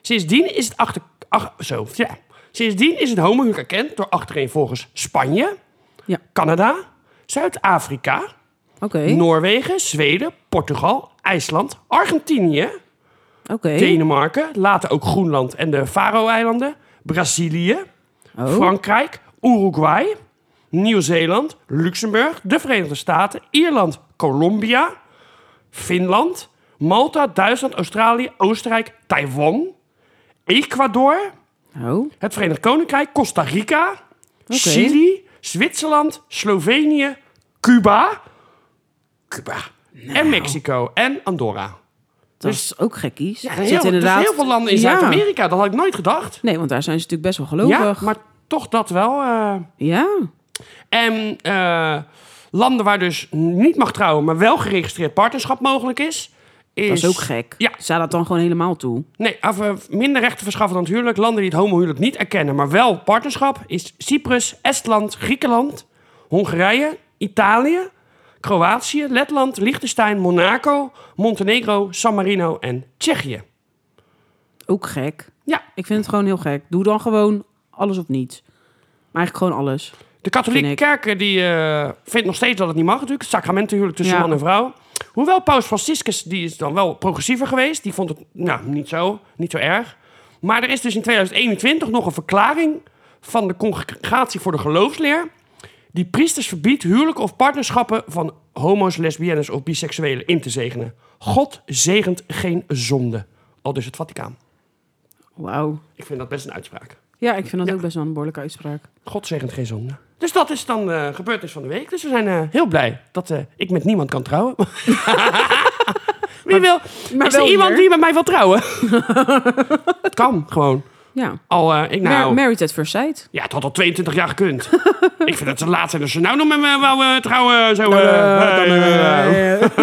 S1: Sindsdien is het achter... Ach, zo, ja. Sindsdien is het homohuwelijk erkend door achtereenvolgens Spanje,
S2: Ja.
S1: Canada, Zuid-Afrika,
S2: Oké.
S1: Noorwegen, Zweden, Portugal, IJsland, Argentinië,
S2: Oké.
S1: Denemarken, later ook Groenland en de Faroe-eilanden, Brazilië,
S2: Oh.
S1: Frankrijk, Uruguay, Nieuw-Zeeland, Luxemburg, de Verenigde Staten, Ierland, Colombia, Finland, Malta, Duitsland, Australië, Oostenrijk, Taiwan, Ecuador,
S2: Oh.
S1: het Verenigd Koninkrijk, Costa Rica, Chili, Zwitserland, Slovenië, Cuba, Cuba
S2: Nou.
S1: en Mexico en Andorra.
S2: Dat is ook gekkies.
S1: Ja,
S2: Het
S1: heel,
S2: zit
S1: dus heel veel landen in
S2: Ja.
S1: Zuid-Amerika, dat had ik nooit gedacht.
S2: Nee, want daar zijn ze natuurlijk best wel
S1: Ja,
S2: gelovig. Ja.
S1: maar toch dat wel. eh. En eh, landen waar dus niet mag trouwen, maar wel geregistreerd partnerschap mogelijk is. is
S2: Dat is ook gek.
S1: Ja.
S2: Sta dat dan gewoon helemaal toe?
S1: Nee, af, eh, minder rechten verschaffen dan het huwelijk. Landen die het homohuwelijk niet erkennen, maar wel partnerschap, is Cyprus, Estland, Griekenland, Hongarije, Italië, Kroatië, Letland, Liechtenstein, Monaco, Montenegro, San Marino en Tsjechië.
S2: Ook gek.
S1: Ja,
S2: Ik vind het gewoon heel gek. Doe dan gewoon alles of niets. Maar eigenlijk gewoon alles.
S1: De katholieke
S2: Vind ik.
S1: kerken die eh, vindt nog steeds dat het niet mag natuurlijk. Het sacramentenhuwelijk tussen
S2: Ja.
S1: man en vrouw. Hoewel paus Franciscus, die is dan wel progressiever geweest. Die vond het nou, niet, zo, niet zo erg. Maar er is dus in 2021 nog een verklaring van de Congregatie voor de Geloofsleer... die priesters verbiedt huwelijken of partnerschappen van homo's, lesbiennes of biseksuelen in te zegenen. God zegent geen zonde. Al dus het Vaticaan.
S2: Wauw.
S1: Ik vind dat best een uitspraak.
S2: Ja, ik vind dat ook best wel een behoorlijke uitspraak.
S1: God zegent geen zonde. Dus dat is dan eh gebeurtenis van de week. Dus we zijn eh, heel blij dat eh, ik met niemand kan trouwen. Wie wil?
S2: maar
S1: is er
S2: wel
S1: iemand
S2: hier.
S1: die met mij wil trouwen? het kan gewoon.
S2: Ja.
S1: Al, eh, ik nou,
S2: Mar- Married at First Sight.
S1: ja, het had al 22 jaar gekund. ik vind dat ze laat zijn als ze nou nog met me wou eh, trouwen. Zo,
S2: Nou,
S1: eh, eh,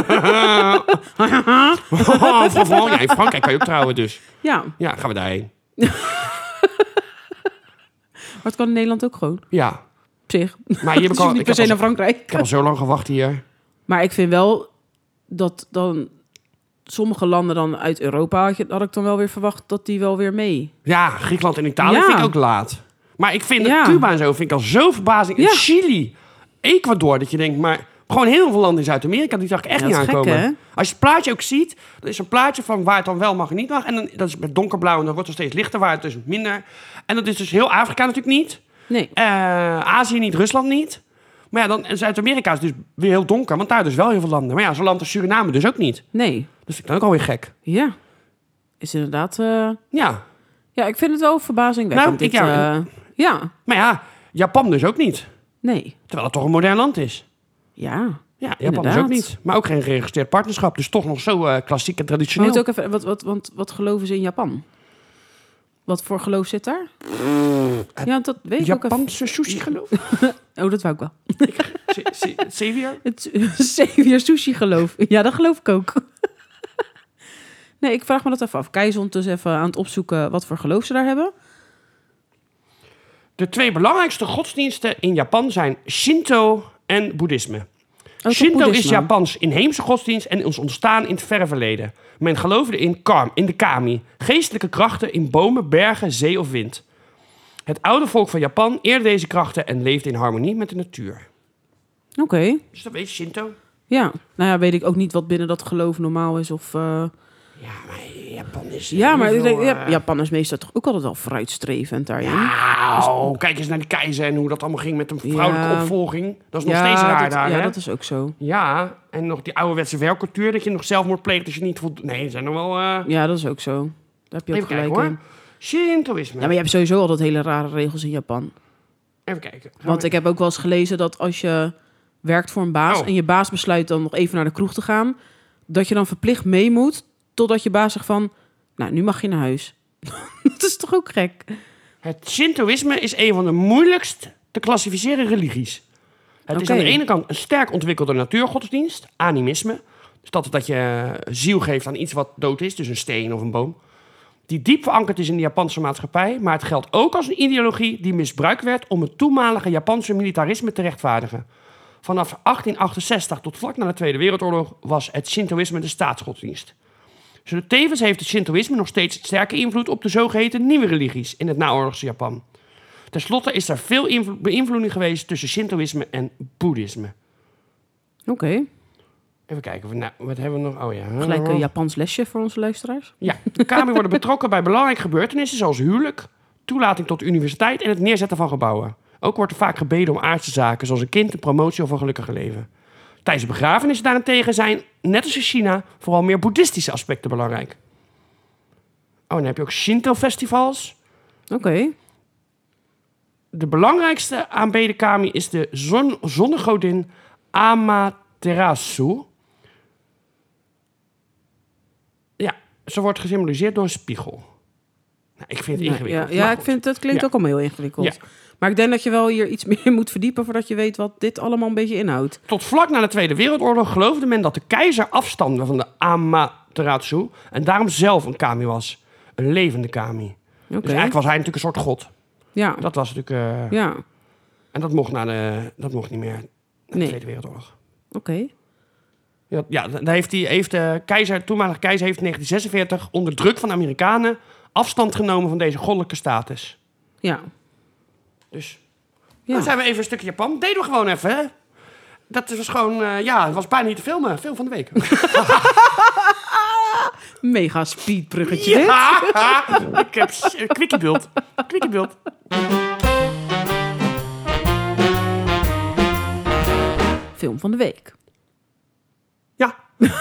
S1: oh, van- van- ja, in Frankrijk kan je ook trouwen dus.
S2: ja, maar
S1: Ja, gaan we daarheen.
S2: het kan in Nederland ook gewoon.
S1: Ja,
S2: Op zich.
S1: maar hier heb
S2: Dus
S1: ik al, ik
S2: niet per
S1: heb
S2: se
S1: al, zo-
S2: naar
S1: ik
S2: Frankrijk.
S1: heb al zo lang gewacht hier.
S2: Maar ik vind wel dat dan sommige landen dan uit Europa had, je- had ik dan wel weer verwacht dat die wel weer mee.
S1: Ja, Griekenland en Italië
S2: Ja.
S1: vind ik ook laat. Maar ik vind
S2: Ja.
S1: Cuba en zo vind ik al zo verbazing. En
S2: Ja.
S1: Chili, Ecuador, dat je denkt, maar gewoon heel veel landen in Zuid-Amerika, die zag ik echt
S2: Ja,
S1: niet
S2: dat is gek,
S1: aankomen.
S2: hè?
S1: Als je het plaatje ook ziet, er is een plaatje van waar het dan wel mag en niet mag. En dan, dat is met donkerblauw en dan wordt het steeds lichter, waar het dus minder. En dat is dus heel Afrika natuurlijk niet.
S2: Nee.
S1: Eh, Azië niet, Rusland niet. Maar ja, dan, en Zuid-Amerika is dus weer heel donker, want daar dus wel heel veel landen. Maar ja, zo'n land als Suriname dus ook niet.
S2: Nee.
S1: Dat vind ik dan ook alweer gek.
S2: Ja. Is inderdaad... eh,
S1: Ja,
S2: ja, ik vind het wel verbazingwekkend.
S1: Nou, ik-
S2: dit,
S1: ja,
S2: eh, ja.
S1: maar ja, Japan dus ook niet.
S2: Nee.
S1: Terwijl het toch een modern land is.
S2: Ja.
S1: Ja, Japan is ook
S2: Inderdaad.
S1: niet. Maar ook geen geregistreerd partnerschap. Dus toch nog zo eh, klassiek en
S2: Maar
S1: traditioneel.
S2: moet ook even, wat, wat, want wat geloven ze in Japan? Wat voor geloof zit daar? Ja, dat weet ik ook even.
S1: Japanse sushi geloof
S2: Oh, dat wou ik wel.
S1: Se- se- Sevier?
S2: Het Xavier Sushi geloof. Ja, dat geloof ik ook. Nee, ik vraag me dat even af. Kei is ondertussen even aan het opzoeken wat voor geloof ze daar hebben. Oh,
S1: De twee belangrijkste godsdiensten in Japan zijn Shinto en Boeddhisme.
S2: toch
S1: Shinto is
S2: boeddhisme?
S1: Japans inheemse godsdienst en ons ontstaan in het verre verleden. Men geloofde in karm, in de kami, geestelijke krachten in bomen, bergen, zee of wind. Het oude volk van Japan eerde deze krachten en leefde in harmonie met de natuur.
S2: Oké,
S1: Dus dat weet je, Shinto.
S2: ja. Nou ja, weet ik ook niet wat binnen dat geloof normaal is of... eh,
S1: Ja, maar ja, Japan is...
S2: Ja, maar ik
S1: heel
S2: denk,
S1: veel,
S2: ja,
S1: eh,
S2: Japan is meestal toch ook altijd wel vooruitstrevend daarin.
S1: Nou, kijk eens naar die keizer en hoe dat allemaal ging met een vrouwelijke
S2: Ja.
S1: opvolging. Dat is nog steeds raar
S2: dat,
S1: daar,
S2: ja,
S1: hè?
S2: dat is ook zo.
S1: Ja, en nog die ouderwetse werkcultuur, dat je nog zelfmoord pleegt als je niet voldoet. Nee, er zijn nog wel... eh,
S2: Ja, dat is ook zo. Daar heb je ook
S1: Even
S2: gelijk
S1: kijken, hoor.
S2: in.
S1: Shintoïsme.
S2: Ja, maar je hebt sowieso altijd hele rare regels in Japan.
S1: Even kijken. Gaan
S2: Want
S1: we-
S2: ik heb ook wel eens gelezen dat als je werkt voor een baas
S1: Oh.
S2: en je baas besluit dan nog even naar de kroeg te gaan, dat je dan verplicht mee moet totdat je baas zegt van, nou, nu mag je naar huis. dat is toch ook gek?
S1: Het Shintoïsme is een van de moeilijkst te klassificeren religies. Het is
S2: Oké.
S1: aan de ene kant een sterk ontwikkelde natuurgodsdienst, animisme. Dus dat, dat je ziel geeft aan iets wat dood is, dus een steen of een boom. Die diep verankerd is in de Japanse maatschappij, maar het geldt ook als een ideologie die misbruikt werd om het toenmalige Japanse militarisme te rechtvaardigen. Vanaf 1868 tot vlak na de Tweede Wereldoorlog was het Shintoïsme de staatsgodsdienst. Zo tevens heeft het Shintoïsme nog steeds sterke invloed op de zogeheten nieuwe religies in het naoorlogse Japan. Ten slotte is er veel invlo- beïnvloeding geweest tussen Shintoïsme en Boeddhisme.
S2: Oké,
S1: Even kijken, nou, wat hebben we nog? Oh ja.
S2: gelijk een Japans lesje voor onze luisteraars.
S1: Ja, de Kami worden betrokken bij belangrijke gebeurtenissen zoals huwelijk, toelating tot universiteit en het neerzetten van gebouwen. Ook wordt er vaak gebeden om aardse zaken, zoals een kind, een promotie of een gelukkiger leven. Tijdens begrafenissen daarentegen zijn, net als in China, vooral meer boeddhistische aspecten belangrijk. Oh, en dan heb je ook Shinto-festivals.
S2: Oké,
S1: De belangrijkste aanbeden kami is de zon, zonnegodin Amaterasu. Ja, ze wordt gesymboliseerd door een spiegel. Nou, ik vind het
S2: Nou,
S1: ingewikkeld.
S2: Ja, ja
S1: maar
S2: ik
S1: goed.
S2: vind dat klinkt
S1: Ja.
S2: ook allemaal heel ingewikkeld.
S1: Ja.
S2: Maar ik denk dat je wel hier iets meer moet verdiepen voordat je weet wat dit allemaal een beetje inhoudt.
S1: Tot vlak na de Tweede Wereldoorlog geloofde men dat de keizer afstamde van de Amaterasu... en daarom zelf een kami was. Een levende kami.
S2: Oké.
S1: Dus eigenlijk was hij natuurlijk een soort god.
S2: ja.
S1: Dat was natuurlijk... eh,
S2: ja, oké.
S1: En dat mocht, na de, dat mocht niet meer na de
S2: Nee.
S1: Tweede Wereldoorlog. Ja, ja daar heeft, die, heeft de keizer, toenmalige keizer heeft in 1946 onder druk van de Amerikanen afstand genomen van deze goddelijke status.
S2: Ja.
S1: Dus
S2: Ja.
S1: dan zijn we even een stukje Japan. Deden we gewoon even, hè? Dat was gewoon, eh, ja, het was bijna niet te filmen. Film van de week.
S2: Mega speedbruggetje. dit.
S1: ja! Ah, Ik heb s- eh, kwikkiebeeld. Kwikkiebeeld.
S2: Film van de week.
S1: Ja.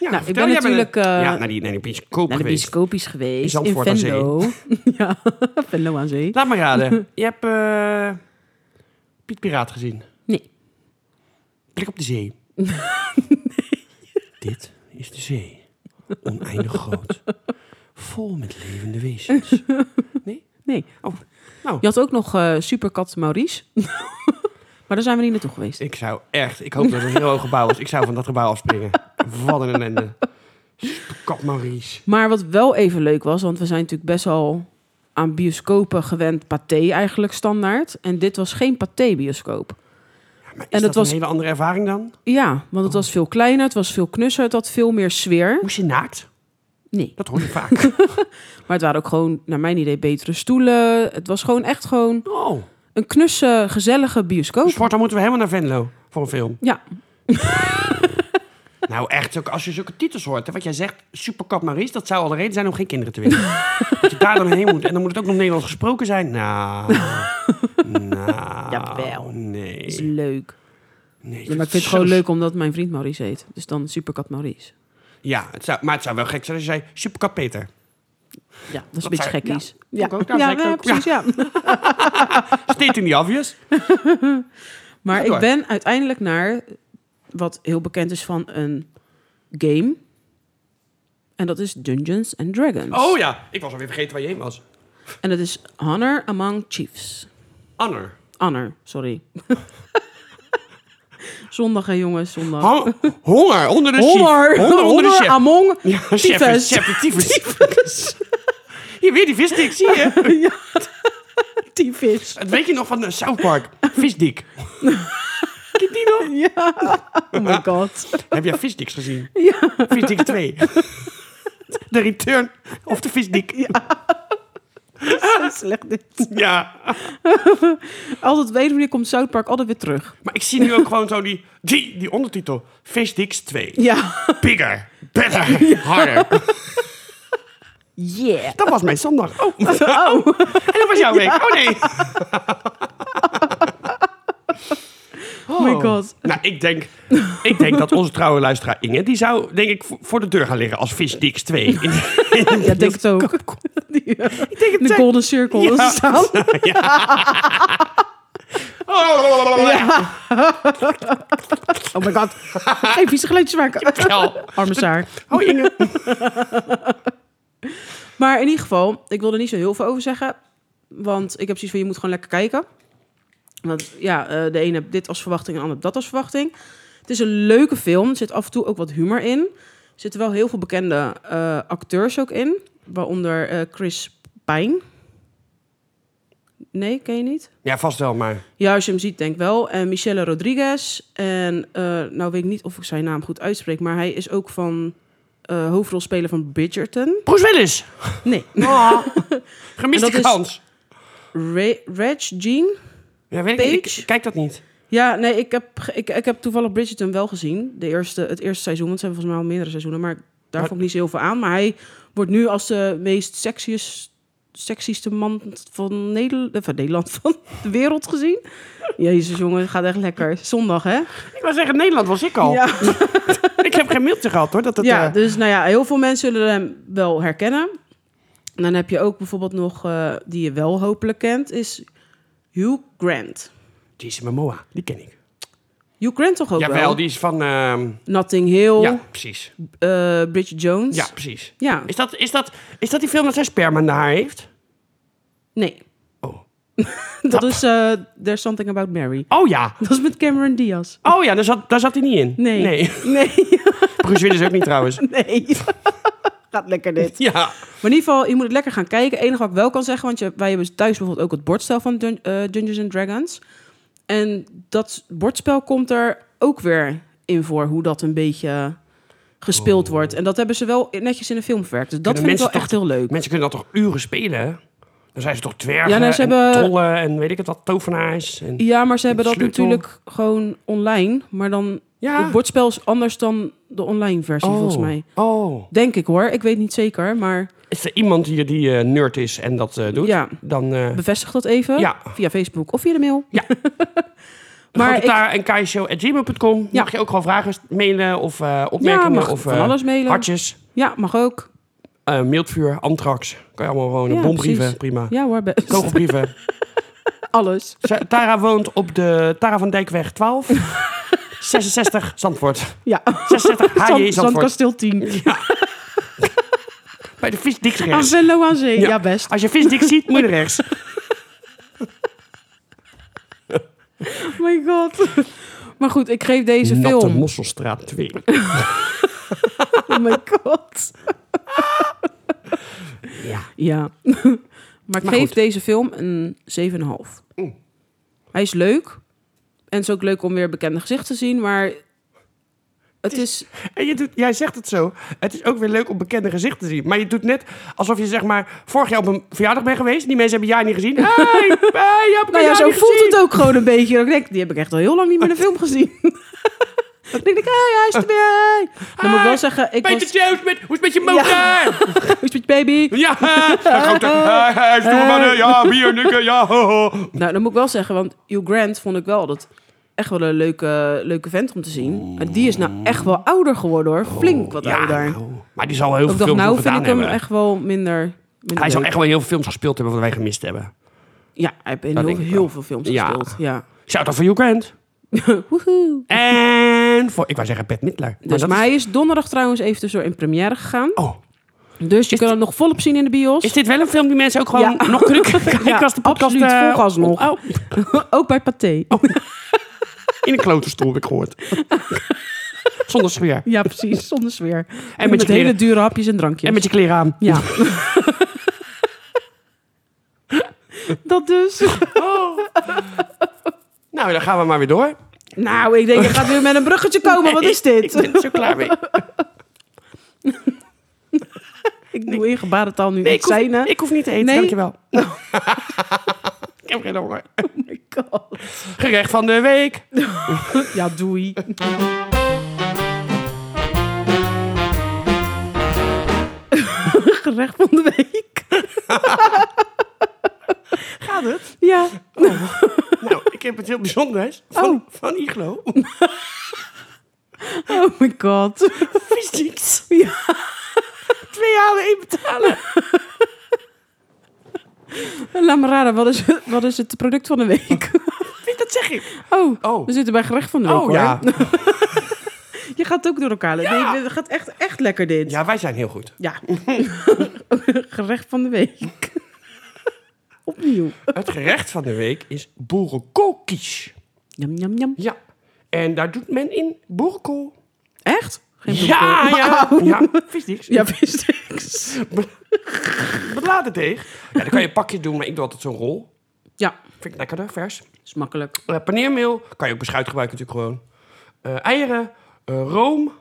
S1: ja
S2: Nou, ben
S1: vertel, jij bent
S2: natuurlijk,
S1: een-
S2: eh,
S1: ja, naar die, naar die bioscoop
S2: Naar de
S1: geweest.
S2: bioscopisch geweest.
S1: In
S2: In
S1: Zandvoort aan Zee.
S2: Venlo. ja, Venlo aan zee.
S1: Laat maar raden. Je hebt eh, Piet Piraat gezien.
S2: Nee.
S1: Blik op de zee. Dit is de zee. Oneindig groot. Vol met levende wezens. Nee?
S2: Nee.
S1: Oh, nou.
S2: Je had ook nog eh, Superkat Maurice. maar daar zijn we niet naartoe geweest.
S1: Ik zou echt... Ik hoop dat het een heel hoog gebouw is. Ik zou van dat gebouw afspringen. Wat een ellende. Kat Maurice.
S2: Maar wat wel even leuk was, want we zijn natuurlijk best al aan bioscopen gewend, paté eigenlijk standaard. En dit was geen paté-bioscoop.
S1: Ja, maar is
S2: het
S1: dat
S2: was-
S1: een hele andere ervaring dan?
S2: Ja, want het was veel kleiner, het was veel knusser, het had veel meer sfeer.
S1: Moest je naakt?
S2: Nee.
S1: Dat hoor je vaak.
S2: Maar het waren ook gewoon, naar mijn idee, betere stoelen. Het was gewoon echt gewoon
S1: Oh.
S2: een knusse, gezellige bioscoop.
S1: Dus voortaan moeten we helemaal naar Venlo voor een film.
S2: Oh. Ja,
S1: Nou echt, ook als je zulke titels hoort. Hè, wat jij zegt, Superkat Maries, dat zou al de reden zijn om geen kinderen te winnen. dat je daar dan heen moet. En dan moet het ook nog Nederlands gesproken zijn. Nou, nou.
S2: Jawel.
S1: Nee.
S2: is leuk.
S1: nee
S2: Ja, maar ik vind het gewoon leuk omdat mijn vriend Maurice heet. Dus dan Superkat Maurice.
S1: Ja, het zou, maar het zou wel gek zijn als je zei, Superkat Peter.
S2: Ja, dat is een
S1: Dat
S2: beetje
S1: zei-
S2: gekkies.
S1: ja, vond ik ook. Ja,
S2: ja,
S1: zei ik
S2: ja,
S1: ook.
S2: precies, ja.
S1: Steeds in die obvious.
S2: Maar
S1: Ga
S2: ik
S1: door.
S2: ben uiteindelijk naar wat heel bekend is van een game. En dat is Dungeons and Dragons.
S1: Oh ja, ik was alweer vergeten waar je heen was.
S2: En dat is Honor Among Chiefs.
S1: Anner.
S2: Honor, sorry. zondag, hè jongens, zondag.
S1: Han- honger onder de chef.
S2: Honor,
S1: Honger onder de chef.
S2: Among
S1: Ja,
S2: Chiefs.
S1: chef, chef, tyfus. Hier, weer die visdik, zie je?
S2: Die vis.
S1: Het weet je nog van de South Park? Visdik. Ken je die nog?
S2: Ja, oh my god.
S1: Heb jij Visdicks gezien?
S2: Ja.
S1: Visdik 2. De Return of de Visdik.
S2: Zo slecht dit.
S1: Ja.
S2: Altijd op de ene manier komt South Park altijd weer terug.
S1: Maar ik zie nu ook gewoon zo die, die, die ondertitel. Fistix 2.
S2: Ja.
S1: Bigger, better, harder.
S2: Yeah.
S1: Dat was mijn zondag. Oh, en
S2: Oh.
S1: dat was jouw week. Oh nee.
S2: Oh my god.
S1: Nou, ik denk, ik denk dat onze trouwe luisteraar Inge... die zou, denk ik, voor- voor de deur gaan liggen als Fistix 2. In- in-
S2: Ja, ik denk het ook. Die, eh, de
S1: zij-
S2: golden circle.
S1: Ja.
S2: dat ze staan.
S1: Ja.
S2: Oh my god. Hey, vieze geluidjes maken. Arme Saar.
S1: Oh, Inge.
S2: Maar in ieder geval, ik wil er niet zo heel veel over zeggen. Want ik heb zoiets van, je moet gewoon lekker kijken. Want ja, eh, de ene hebt dit als verwachting en de ander dat als verwachting. Het is een leuke film. Er zit af en toe ook wat humor in. Er zitten wel heel veel bekende eh, acteurs ook in. Waaronder eh, Chris Pine. Nee, ken je niet?
S1: Ja, vast wel, maar...
S2: Ja, als je hem ziet, denk ik wel. En Michelle Rodriguez. En eh, nou weet ik niet of ik zijn naam goed uitspreek. Maar hij is ook van eh, hoofdrolspeler van Bridgerton.
S1: Bruce Willis.
S2: Nee.
S1: Oh. Gemiste
S2: En dat is-
S1: kans.
S2: Re- Reg Jean?
S1: Ja, weet ik, niet.
S2: Page?
S1: ik kijk dat niet.
S2: Ja, nee, ik heb, ge- ik, ik heb toevallig Bridgerton wel gezien. De eerste, het eerste seizoen, want ze hebben volgens mij al meerdere seizoenen. Maar daar
S1: Maar-
S2: vond ik niet zo heel veel aan. Maar hij wordt nu als de meest sexiest, sexieste man van Nederland, eh, van Nederland, van de wereld gezien. Jezus, jongen, gaat echt lekker. Zondag, hè?
S1: Ik wil zeggen, Nederland was ik al.
S2: Ja.
S1: Ik heb geen mailtje gehad, hoor. Dat het,
S2: ja,
S1: eh,
S2: dus nou ja, heel veel mensen zullen hem wel herkennen. En dan heb je ook bijvoorbeeld nog, eh, die je wel hopelijk kent, is Hugh Grant.
S1: Jason Momoa, die ken ik.
S2: Hugh Grant toch ook
S1: Jawel, die is van... ehm,
S2: Notting Hill,
S1: Ja, precies.
S2: eh, Bridget Jones.
S1: Ja, precies.
S2: Ja.
S1: Is dat, is, dat, is dat die film dat zij sperma in haar haar heeft?
S2: Nee.
S1: Oh.
S2: Dat is eh, There's Something About Mary.
S1: Oh ja.
S2: Dat is met Cameron Diaz.
S1: Oh ja, daar zat, daar zat hij niet in.
S2: Nee.
S1: nee.
S2: Nee.
S1: Bruce Willis ook niet trouwens.
S2: nee. Gaat lekker dit.
S1: Ja.
S2: Maar in ieder geval, je moet het lekker gaan kijken. Enige wat ik wel kan zeggen, want je, wij hebben thuis bijvoorbeeld ook het bordspel van Dun- eh, Dungeons and Dragons. En dat bordspel komt er ook weer in voor, hoe dat een beetje gespeeld wordt. En dat hebben ze wel netjes in de film verwerkt. Dus dat
S1: Oh. Kunnen
S2: vind ik
S1: mensen
S2: wel echt heel leuk.
S1: Mensen kunnen dat toch uren spelen? Dan zijn ze toch dwergen
S2: Ja, nou, ze
S1: en
S2: hebben-
S1: trollen en weet ik het wat, tovenaars. En...
S2: Ja, maar ze hebben dat
S1: Sleutel.
S2: natuurlijk gewoon online. Maar dan,
S1: Ja.
S2: het bordspel is anders dan de online versie, volgens mij.
S1: Oh.
S2: Denk ik hoor. Ik weet niet zeker, maar
S1: Is er iemand hier die eh, nerd is en dat eh, doet?
S2: Ja.
S1: Dan... eh
S2: bevestig dat even.
S1: Ja.
S2: Via Facebook of via de mail.
S1: Ja.
S2: maar ik,
S1: en kaishow.gmail.com.
S2: Ja.
S1: Mag je ook gewoon vragen mailen of eh, opmerkingen?
S2: mag
S1: of
S2: van
S1: eh,
S2: alles mailen.
S1: Hartjes,
S2: ja, mag ook.
S1: eh, mildvuur, antrax. Kan je allemaal gewoon
S2: Ja,
S1: bombrieven,
S2: precies.
S1: prima.
S2: Ja hoor, best.
S1: Kogelbrieven.
S2: Alles.
S1: Ze- Tara woont op de Tara van Dijkweg 12. 66 Zandvoort.
S2: Ja.
S1: 66 HJ
S2: Zand,
S1: Zandvoort.
S2: Zandkasteel 10.
S1: Bij de visdik
S2: Aan
S1: rechts.
S2: Venlo aan Zee.
S1: Ja.
S2: Ja. best.
S1: Als je visdik ziet, moet je naar rechts.
S2: Oh my god. Maar goed, ik geef deze
S1: Natte
S2: film...
S1: Mosselstraat 2.
S2: Oh my god.
S1: Ja.
S2: Ja. maar ik
S1: Maar
S2: geef
S1: goed.
S2: deze film een 7,5.
S1: Mm.
S2: Hij is leuk. En het is ook leuk om weer bekende gezichten te zien, maar... Het is...
S1: En je doet, jij zegt het zo. Het is ook weer leuk om bekende gezichten te zien. Maar je doet net alsof je zeg maar vorig jaar op een verjaardag bent geweest. Die mensen hebben jij niet gezien. Hey, hey, je hebt
S2: Nou ja,
S1: jou
S2: zo
S1: niet
S2: voelt
S1: gezien.
S2: het ook gewoon een beetje. Dan denk ik, die heb ik echt al heel lang niet meer in de film gezien. dan denk ik, hey, hij is er weer. Dan moet ik wel zeggen, ik
S1: Peter
S2: was...
S1: Jones, met, hoe is het met je motor? Ja,
S2: Hoe is het met je baby?
S1: ja. Hij gaat ook, hey, hey, stoere mannen. ja bier, nukken, ja, ho, ho.
S2: Nou, dan moet ik wel zeggen, want Hugh Grant vond ik wel dat echt wel een leuke, leuke vent om te zien. En die is nou echt wel ouder geworden hoor. Flink wat
S1: Ja,
S2: ouder.
S1: nou, maar die zal heel veel
S2: ik dacht,
S1: films
S2: nou
S1: nog gedaan
S2: vind ik hem
S1: hebben.
S2: echt wel minder... minder
S1: Hij zal
S2: leuk.
S1: echt wel heel veel films gespeeld hebben wat wij gemist hebben.
S2: Ja, hij heeft in
S1: Dat
S2: heel,
S1: denk ik
S2: heel
S1: wel.
S2: veel films
S1: Ja.
S2: gespeeld. Ja.
S1: Shout out voor Hugh Grant.
S2: Woehoe.
S1: En voor, ik wou zeggen Pat Midler. Maar
S2: Dus,
S1: dat
S2: maar
S1: is-
S2: hij is donderdag trouwens even tussendoor in première gegaan.
S1: Oh,
S2: Dus je
S1: Is
S2: kan hem nog volop zien in de bios.
S1: is dit wel een film die mensen ook gewoon
S2: Ja.
S1: nog kunnen kijken
S2: Ja,
S1: als de podcast...
S2: absoluut,
S1: eh,
S2: vol gas nog.
S1: Oh,
S2: Ook bij Pathé.
S1: in een klote stoel heb ik gehoord. Zonder sfeer.
S2: Ja, precies. Zonder sfeer. En
S1: met
S2: met,
S1: je
S2: hele
S1: kleren.
S2: dure hapjes en drankjes.
S1: En met je kleren aan.
S2: Ja. dat dus.
S1: Nou, dan gaan we maar weer door.
S2: Nou, ik denk, er gaat weer met een bruggetje komen. Wat is
S1: Ik
S2: dit?
S1: ben er zo klaar mee.
S2: Ik doe in gebarentaal nu
S1: Nee, ik
S2: iets
S1: hoef,
S2: zijn, hè?
S1: ik hoef niet te eten,
S2: eh, Nee.
S1: dankjewel. ik heb geen honger.
S2: Oh my god.
S1: Gerecht van de week.
S2: Ja, doei. Gerecht van de week.
S1: Gaat het?
S2: Ja.
S1: Nou, ik heb het heel bijzonders. Van,
S2: Oh.
S1: van Iglo.
S2: Oh my god.
S1: Fysiek.
S2: Ja.
S1: Twee halen, één betalen.
S2: Laat me raden, wat is, wat is het product van de week?
S1: Dat zeg ik.
S2: Oh,
S1: Oh.
S2: we zitten bij gerecht van de week,
S1: Oh
S2: hoor.
S1: ja.
S2: Je gaat ook door elkaar.
S1: Ja.
S2: Nee, het gaat echt, echt lekker dit.
S1: Ja, wij zijn heel goed.
S2: Ja. gerecht van de week. Opnieuw.
S1: Het gerecht van de week is boerenkoolkies.
S2: Jam, jam, jam.
S1: Ja. En daar doet men in boerenkool.
S2: Echt? Geen
S1: Ja,
S2: bloemkool.
S1: ja. Ja, vis niks.
S2: Ja, wist niks.
S1: Beladen deeg. Ja, dan kan je een pakje doen, maar ik doe altijd zo'n rol.
S2: Ja,
S1: Vind ik lekkerder, vers.
S2: is makkelijk.
S1: Eh, paneermeel. Kan je ook beschuit gebruiken natuurlijk gewoon. Eh, eieren. eh, room.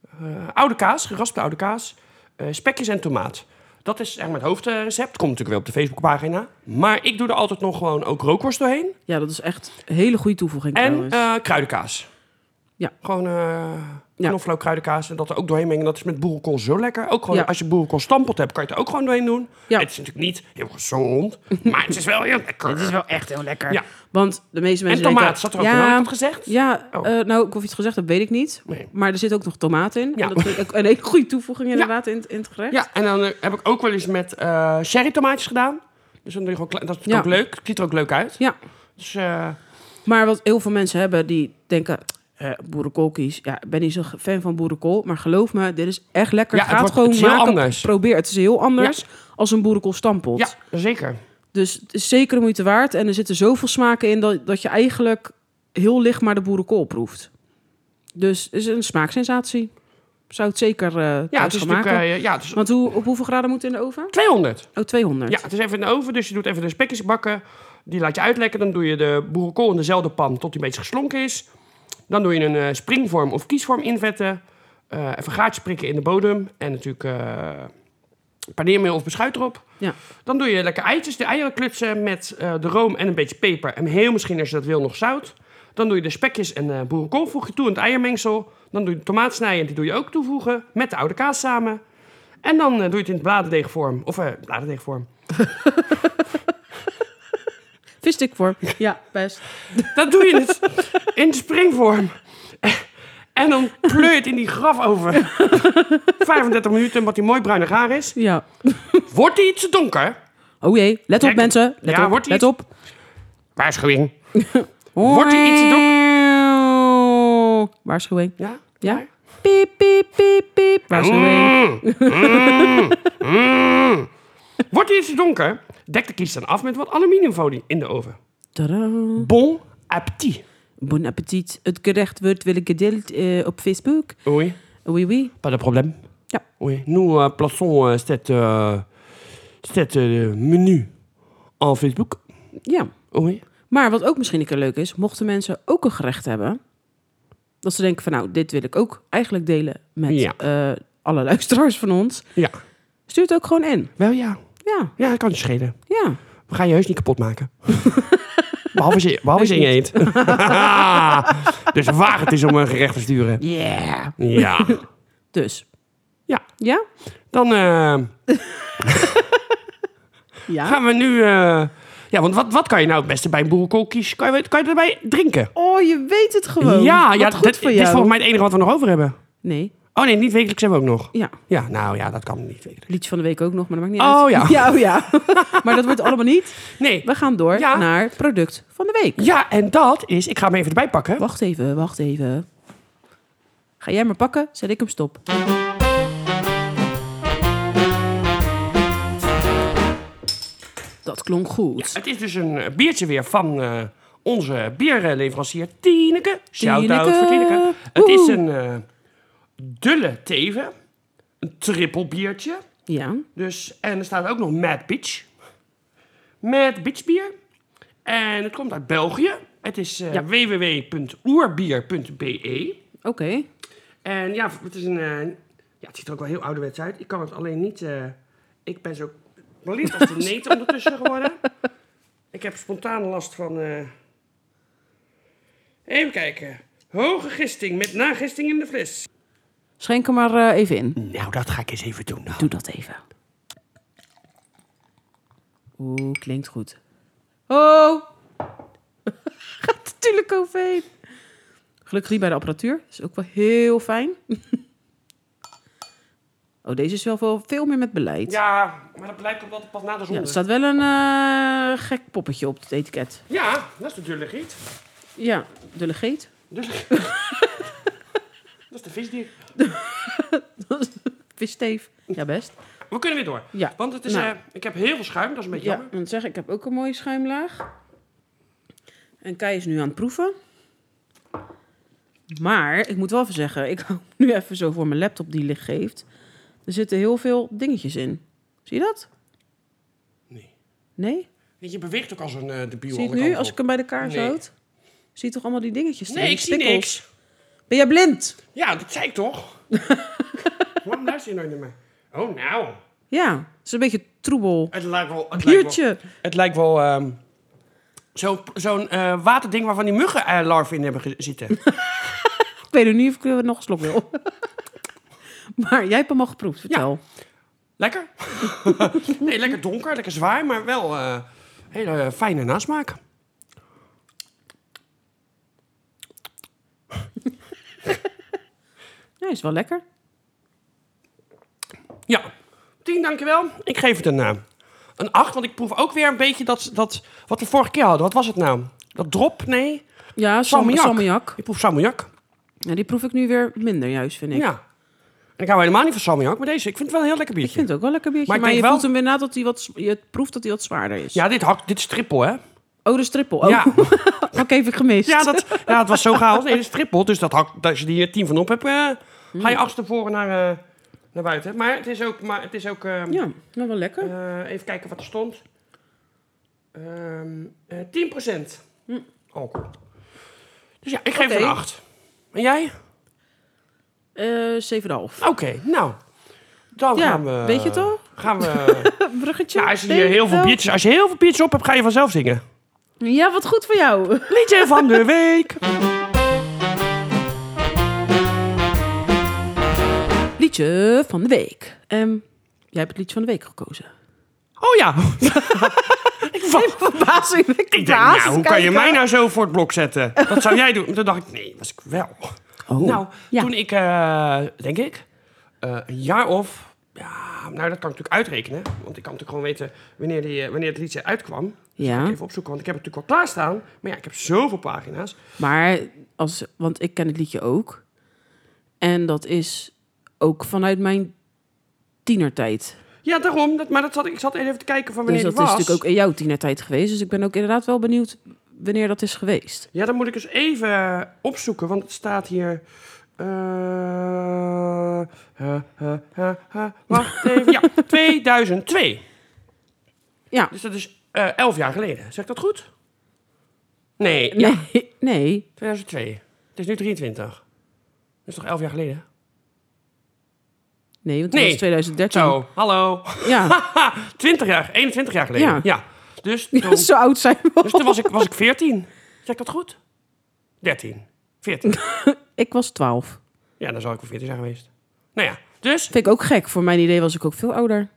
S1: eh, oude kaas, geraspte oude kaas. eh, spekjes en tomaat. Dat is echt mijn hoofdrecept. Komt natuurlijk wel op de Facebookpagina. Maar ik doe er altijd nog gewoon ook rookworst doorheen.
S2: Ja, dat is echt een hele goede toevoeging
S1: En
S2: trouwens.
S1: eh kruidenkaas.
S2: Ja.
S1: Gewoon eh
S2: Ja.
S1: knoflook, kruidenkaas. En dat er ook doorheen mengen. Dat is met boerenkool zo lekker. Ook gewoon
S2: Ja.
S1: als je boerenkool stampot hebt, kan je het er ook gewoon doorheen doen.
S2: Ja.
S1: Het is natuurlijk niet heel gezond. maar het is wel heel lekker. Het is wel echt heel lekker. Ja.
S2: Want de meeste
S1: En
S2: mensen
S1: tomaat
S2: denken...
S1: zat er ook in. Had ik
S2: ja,
S1: dat gezegd?
S2: ja
S1: Oh.
S2: eh, nou, ik of iets gezegd, dat weet ik niet.
S1: Nee.
S2: Maar er zit ook nog tomaat in.
S1: Ja.
S2: En dat vind ik ook een hele goede toevoeging inderdaad in, het- in het gerecht.
S1: Ja, en dan eh, heb ik ook wel eens met eh sherry tomaatjes gedaan. Dus dan doe je gewoon kle- dat is
S2: Ja.
S1: ook leuk. Ziet er ook leuk uit.
S2: Ja.
S1: Dus eh,
S2: Maar wat heel veel mensen hebben, die denken... eh boerenkoolkies. Ja, ik ben niet zo'n fan van boerenkool. Maar geloof me, dit is echt lekker.
S1: Ja,
S2: Ga
S1: het wordt-
S2: gewoon
S1: het is heel
S2: maken.
S1: anders.
S2: Probeer. Het is heel anders als een boerenkool stampot.
S1: ja, zeker.
S2: Dus het is zeker de moeite waard. En er zitten zoveel smaken in dat, dat je eigenlijk heel licht maar de boerenkool proeft. Dus het is een smaaksensatie. Zou het zeker eh
S1: Ja, het
S2: thuis
S1: is
S2: gaan
S1: natuurlijk
S2: maken.
S1: eh, ja, het is
S2: Want hoe, op hoeveel graden moet het in de oven?
S1: 200.
S2: Oh, 200.
S1: Ja, het is even in de oven, dus je doet even de spekjes bakken. Die laat je uitlekken. Dan doe je de boerenkool in dezelfde pan tot die een beetje geslonken is. Dan doe je een eh, springvorm of kiesvorm invetten. Eh even gaatjes prikken in de bodem. En natuurlijk eh paneermeel of beschuit erop.
S2: Ja.
S1: Dan doe je lekker eitjes, de eieren klutsen met eh, de room en een beetje peper. En heel misschien, als je dat wil, nog zout. Dan doe je de spekjes en eh boerenkool voeg je toe in het eiermengsel. Dan doe je de tomaat snijden, die doe je ook toevoegen met de oude kaas samen. En dan eh, doe je het in het bladerdeegvorm. Of eh bladerdeegvorm.
S2: Vist ik voor. Ja, best.
S1: Dan doe je het in de springvorm. En dan pleur je het in die graf over. 35 minuten, wat die mooi bruinig haar is.
S2: Ja.
S1: Wordt die iets te donker?
S2: Oh jee, let op
S1: Kijk,
S2: mensen. Let
S1: ja,
S2: op,
S1: wordt
S2: let
S1: iets-
S2: op.
S1: Waarschuwing. Wordt die iets te
S2: Waarschuwing.
S1: Ja?
S2: Ja? Piep, piep, piep, piep. Waarschuwing.
S1: Wordt die iets te donker? Dek de kies dan af met wat aluminiumfolie in de oven.
S2: Tadaa.
S1: Bon appétit.
S2: Bon appetit. Het gerecht wordt weer gedeeld eh, op Facebook.
S1: Oui,
S2: Oui, oui.
S1: pas de probleem.
S2: Ja.
S1: Oui, nous euh, plaçons euh, cette, euh, cette, euh, menu en Facebook.
S2: Ja.
S1: Oui.
S2: Maar wat ook misschien een keer leuk is, mochten mensen ook een gerecht hebben, dat ze denken van nou, dit wil ik ook eigenlijk delen met
S1: Ja.
S2: eh, alle luisteraars van ons,
S1: Ja.
S2: stuur het ook gewoon in.
S1: Wel ja.
S2: Ja,
S1: Ja, dat kan je schelen.
S2: ja.
S1: We gaan je heus niet kapot maken. behalve als je, behalve als je in je eet. dus waag het is om een gerecht te sturen.
S2: Yeah.
S1: Ja.
S2: Dus.
S1: Ja.
S2: Ja?
S1: Dan eh,
S2: Ja.
S1: gaan we nu... eh, ja, want wat, wat kan je nou het beste bij een boerenkool kiezen? Kan je, kan je erbij drinken?
S2: Oh, je weet het gewoon.
S1: ja,
S2: Wat
S1: ja
S2: goed
S1: dit,
S2: voor
S1: dit
S2: jou.
S1: is volgens mij het enige wat we nog over hebben.
S2: Nee.
S1: Oh nee, niet wekelijks hebben we ook nog.
S2: Ja.
S1: Ja, nou ja, dat kan niet wekelijks.
S2: Liedje van de week ook nog, maar dat maakt niet
S1: Oh,
S2: uit.
S1: ja.
S2: Ja, oh, ja. maar dat wordt allemaal niet.
S1: Nee.
S2: We gaan door
S1: Ja.
S2: naar product van de week.
S1: Ja, en dat is... Ik ga hem even erbij pakken.
S2: Wacht even, wacht even. Ga jij maar pakken, zet ik hem stop. Dat klonk goed.
S1: Het is dus een eh, biertje weer van eh, onze bierleverancier Tineke. Shout-out
S2: Tineke.
S1: voor Tineke. Het is
S2: Woehoe.
S1: een eh, dulle teven. Een triple biertje.
S2: Ja,
S1: Dus, en er staat ook nog Mad Beach. Mad Beach bier. En het komt uit België. Het is eh
S2: Ja.
S1: www.oerbier.be.
S2: oké.
S1: En ja, het is een eh, Ja, het ziet er ook wel heel ouderwets uit. Ik kan het alleen niet... eh, ik ben zo blind als de neet ondertussen geworden. Ik heb spontaan last van... eh, Even kijken. Hoge gisting met nagisting in de fles.
S2: Schenk hem maar eh, even in.
S1: Nou, dat ga ik eens even doen. nou.
S2: Doe dat even. Oeh, klinkt goed. Oh! Gaat natuurlijk overheen. Gelukkig niet bij de apparatuur. Is ook wel heel fijn. Oh, deze is wel veel, veel meer met beleid.
S1: Ja, maar dat blijkt omdat het pas na de
S2: Ja,
S1: zon
S2: er
S1: is.
S2: staat wel een eh, gek poppetje op het etiket.
S1: Ja, dat is natuurlijk niet.
S2: Ja, de legeet.
S1: Dus... dat is de visdier.
S2: Vissteef. Ja, best.
S1: We kunnen weer door.
S2: Ja.
S1: Want het is,
S2: Nou.
S1: eh, ik heb heel veel schuim, dat is een beetje
S2: Ja,
S1: jammer.
S2: ik moet zeggen, ik heb ook een mooie schuimlaag. En Kai is nu aan het proeven. Maar ik moet wel even zeggen, ik hou nu even zo voor mijn laptop die licht geeft. Er zitten heel veel dingetjes in. Zie je dat?
S1: Nee.
S2: Nee?
S1: Weet je, je beweegt ook als een eh debiel.
S2: zie je
S1: alle
S2: het nu
S1: kanten
S2: als ik
S1: op.
S2: hem bij de kaars
S1: Nee.
S2: houd? Zie je toch allemaal die dingetjes?
S1: Nee,
S2: erin?
S1: ik zie
S2: Prikkels.
S1: niks.
S2: Ben jij blind?
S1: Ja, dat zei ik toch? Waarom luister je nooit naar mij? Oh, nou.
S2: Ja, het is een beetje troebel.
S1: Het lijkt wel... Het lijkt wel,
S2: Biertje.
S1: het lijkt wel ehm, zo- Zo'n eh, waterding waarvan die muggen eh, larven in hebben ge- zitten.
S2: Ik weet nog niet of ik er nog een slok wil. maar jij hebt hem al geproefd, vertel.
S1: lekker? nee, lekker donker, lekker zwaar, maar wel eh, hele eh, fijne nasmaak.
S2: Ja, is wel lekker.
S1: Ja. Tien, dankjewel. Ik geef het een, eh, een acht, want ik proef ook weer een beetje dat, dat... Wat we vorige keer hadden, wat was het nou? Dat drop? Nee.
S2: Ja,
S1: Salmiak.
S2: salmiak. salmiak.
S1: Ik proef salmiak.
S2: Ja, die proef ik nu weer minder juist, vind ik.
S1: Ja. En ik hou helemaal niet van salmiak, maar deze, ik vind het wel een heel lekker
S2: Ik
S1: biertje.
S2: vind het ook wel een lekker biertje.
S1: Maar
S2: Maar,
S1: ik
S2: je
S1: denk wel-
S2: voelt hem weer na dat hij wat... z- Je proeft dat hij wat zwaarder is.
S1: Ja, dit, hakt, dit is trippel, hè?
S2: Oh, de strippel. Oh,
S1: Ja,
S2: oké, heb ik gemist.
S1: ja, dat, ja, het was zo chaos. Nee, dit is trippel, dus dat hakt, als je die tien van op hebt, eh, ga
S2: Hmm.
S1: je achtervoren naar, eh, naar buiten. Maar het is ook... Maar het is ook ehm,
S2: Ja, nou wel lekker.
S1: eh, even kijken wat er stond. Ehm eh Oh, 10% alcohol. Hm. Dus ja, ik geef het
S2: Oké.
S1: een 8. En jij?
S2: Eh 7,5.
S1: Oké, nou. Dan
S2: Ja,
S1: gaan we...
S2: weet je het al?
S1: Gaan we...
S2: Bruggetje.
S1: Ja, als je
S2: Denk
S1: hier
S2: ik
S1: heel veel
S2: wel.
S1: biertjes, als je heel veel biertjes op hebt, ga je vanzelf zingen.
S2: Ja, wat goed voor jou.
S1: Liedje van de week.
S2: Liedje van de week. Ehm, jij hebt het liedje van de week gekozen.
S1: Oh ja. ik was-
S2: Verbazing. Ik
S1: ik denk, nou, hoe kan je mij nou zo voor het blok zetten? Dat zou jij doen. Toen dacht ik, nee, was ik wel.
S2: Oh,
S1: nou,
S2: ja.
S1: toen ik, eh, denk ik, eh, een jaar of... Ja, nou, dat kan ik natuurlijk uitrekenen. Want ik kan natuurlijk gewoon weten wanneer, die, eh, wanneer het liedje uitkwam.
S2: Ja,
S1: Even opzoeken, want ik heb het natuurlijk al klaarstaan. Maar ja, ik heb zoveel pagina's.
S2: maar als... Want ik ken het liedje ook. En dat is ook vanuit mijn tienertijd.
S1: Ja, daarom. Dat, maar dat zat, ik zat even te kijken van wanneer
S2: Dus dat
S1: die
S2: is
S1: was.
S2: natuurlijk ook in jouw tienertijd geweest. Dus ik ben ook inderdaad wel benieuwd wanneer dat is geweest.
S1: Ja, dan moet ik eens even eh, opzoeken, want het staat hier. eh, eh, eh, eh, eh, wacht even. Ja, 2002.
S2: Ja.
S1: Dus dat is eh 11 jaar geleden. Zeg ik dat goed? Nee, ja,
S2: Nee, nee.
S1: 2002. Het is nu 23. Dat is toch 11 jaar geleden?
S2: Nee, want het
S1: Nee.
S2: was 2013.
S1: Zo, hallo.
S2: Ja.
S1: 20 jaar, 21 jaar geleden. Ja.
S2: Ja.
S1: Dus, toen,
S2: ja, zo oud zijn we.
S1: dus
S2: al.
S1: toen was ik, was ik 14. Zeg ik dat goed? 13. 14.
S2: Ik was 12.
S1: Ja, dan zal ik wel 14 zijn geweest. Nou ja, dus.
S2: Vind ik ook gek. Voor mijn idee was ik ook veel ouder.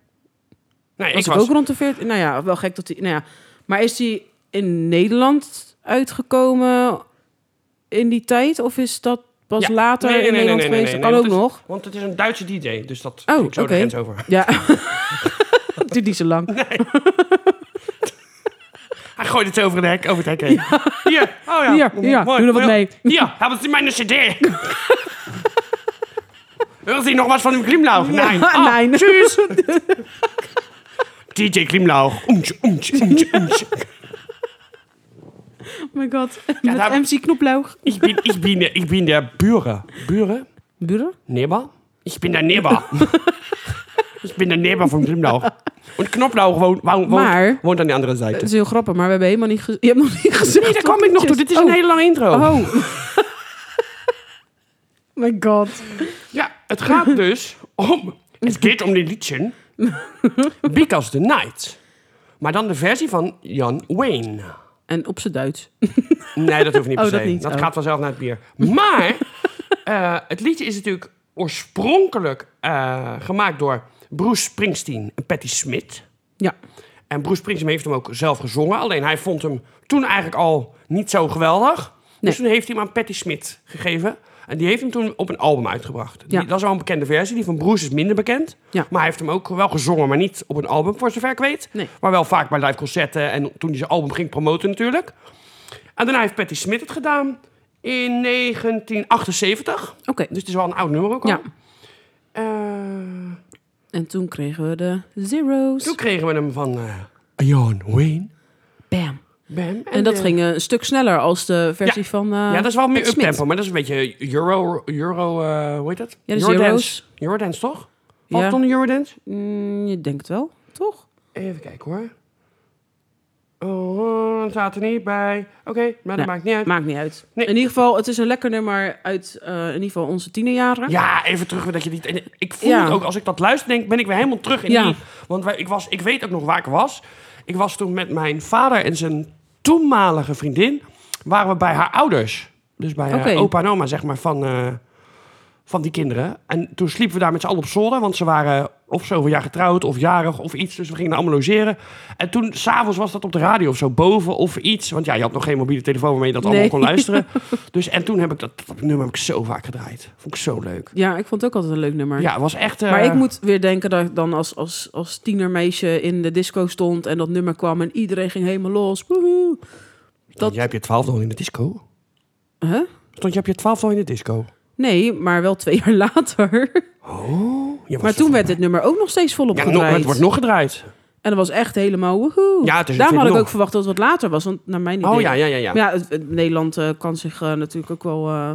S1: Nee,
S2: Was ik, ook rond de 14. Nou ja, wel gek dat hij. Nou ja. Maar is die in Nederland uitgekomen in die tijd? Of is dat pas
S1: Ja.
S2: later
S1: Nee, nee,
S2: in
S1: nee, nee,
S2: Nederland
S1: nee,
S2: geweest?
S1: nee,
S2: kan
S1: nee,
S2: ook
S1: dat
S2: nog.
S1: Want het is een Duitse DJ, dus dat
S2: Oh,
S1: ging ik zo
S2: oké.
S1: de grens over.
S2: Ja. Duurt niet zo lang.
S1: Hij gooit het over, de hek, over het hek heen. Hier, oh ja.
S2: Hier, hier, doe er wat mee.
S1: Hier, hebben ze mijn CD. Wil je nog wat van hem Glimlauch? Nee. Ah,
S2: nee.
S1: Tschüss. DJ Glimlauch. Oemtje, oemtje, oemtje, oemtje.
S2: Oh my god.
S1: Ja,
S2: Met
S1: daar-
S2: MC Knoplauch.
S1: Ik ben, ik ben, ik ben der Buren. Buren?
S2: Buren?
S1: Neber? Ich bin der Neber. ich bin der Neber von Glimlauch. Und Knoblauch woont, woont,
S2: Maar- Äh,
S1: woont, woont aan de andere zijde.
S2: Het is heel grappig, maar we hebben helemaal niet, ge- je hebt nog niet gezegd.
S1: Nee, daar
S2: wat Oh.
S1: kom ik nog
S2: het
S1: toe. Dit is een hele lange intro.
S2: Oh. My god.
S1: Ja, het gaat dus om. Het gaat om de liedje um Because the Night. Maar dan de versie van Jan Wayne.
S2: En op zijn Duits.
S1: Nee, dat hoeft niet per
S2: Oh,
S1: se. Dat,
S2: dat niet. Oh.
S1: gaat vanzelf naar het bier. Maar eh, het liedje is natuurlijk oorspronkelijk eh, gemaakt door Bruce Springsteen en Patti Smith.
S2: Ja.
S1: En Bruce Springsteen heeft hem ook zelf gezongen. Alleen hij vond hem toen eigenlijk al niet zo geweldig.
S2: Nee.
S1: Dus toen heeft hij hem aan Patti Smith gegeven. En die heeft hem toen op een album uitgebracht. Die-
S2: Ja.
S1: dat is wel een bekende versie. Die van Bruce is minder bekend.
S2: Ja.
S1: Maar hij heeft hem ook wel gezongen, maar niet op een album, voor zover ik weet.
S2: Nee.
S1: Maar wel vaak bij live concerten en toen hij zijn album ging promoten natuurlijk. En daarna heeft Patti Smith het gedaan in 1978.
S2: Oké.
S1: Dus het is wel een oud nummer ook al.
S2: Ja.
S1: Eh,
S2: En toen kregen we de zeros.
S1: toen kregen we hem van eh Jan Wayne.
S2: Bam.
S1: Bam. En,
S2: En dat
S1: eh,
S2: ging eh, een stuk sneller als de versie
S1: Ja.
S2: van. eh,
S1: Ja, dat is wel meer
S2: Smit.
S1: uptempo, maar dat is een beetje euro, euro eh, hoe heet dat?
S2: Ja, dus
S1: Eurodance.
S2: euro's.
S1: Eurodance, toch?
S2: Ja.
S1: Valt het onder Eurodance?
S2: Mm, je denkt wel, toch?
S1: Even kijken hoor. Oh, dat staat er niet bij. Oké, maar dat
S2: Ja.
S1: maakt niet uit.
S2: Maakt niet uit.
S1: Nee.
S2: In ieder geval, het is een lekker nummer uit eh, in ieder geval onze tienerjaren.
S1: Ja, even terug weer dat je niet... en Ik voel
S2: Ja.
S1: het ook, als ik dat luister, denk, ben ik weer helemaal terug in
S2: Ja.
S1: die... Want wij, ik, was, ik weet ook nog waar ik was. Ik was toen met mijn vader en zijn toenmalige vriendin... waren we bij haar ouders. Dus bij eh,
S2: Oké.
S1: opa en oma, zeg maar, van, eh, van die kinderen. En toen sliepen we daar met z'n allen op zolder... want ze waren of zoveel jaar getrouwd of jarig of iets. Dus we gingen daar allemaal logeren. En toen, s'avonds was dat op de radio of zo, boven of iets. Want ja, je had nog geen mobiele telefoon waarmee je dat allemaal
S2: Nee.
S1: kon luisteren. Dus, en toen heb ik dat, dat nummer heb ik zo vaak gedraaid. Vond ik zo leuk.
S2: Ja, ik vond het ook altijd een leuk nummer.
S1: Ja, het was echt. eh,
S2: Maar ik moet weer denken dat ik dan als, als, als tienermeisje in de disco stond en dat nummer kwam en iedereen ging helemaal los. Woehoe. dat-
S1: Jij hebt je twaalfde al in de disco.
S2: Huh?
S1: Stond je op je twaalfde al in de disco?
S2: Nee, maar wel twee jaar later.
S1: Oh. je was
S2: Maar
S1: er
S2: toen
S1: van-
S2: werd dit nummer ook nog steeds volop
S1: Ja, nog-
S2: gedraaid.
S1: het wordt nog gedraaid.
S2: En dat was echt helemaal woehoe.
S1: Ja, het is- ik
S2: Daarom
S1: vind
S2: had ik
S1: nog.
S2: ook verwacht dat het wat later was, want naar mijn idee...
S1: Oh ja, ja, ja, ja.
S2: Maar ja, het, het Nederland eh, kan zich eh, natuurlijk ook wel... eh,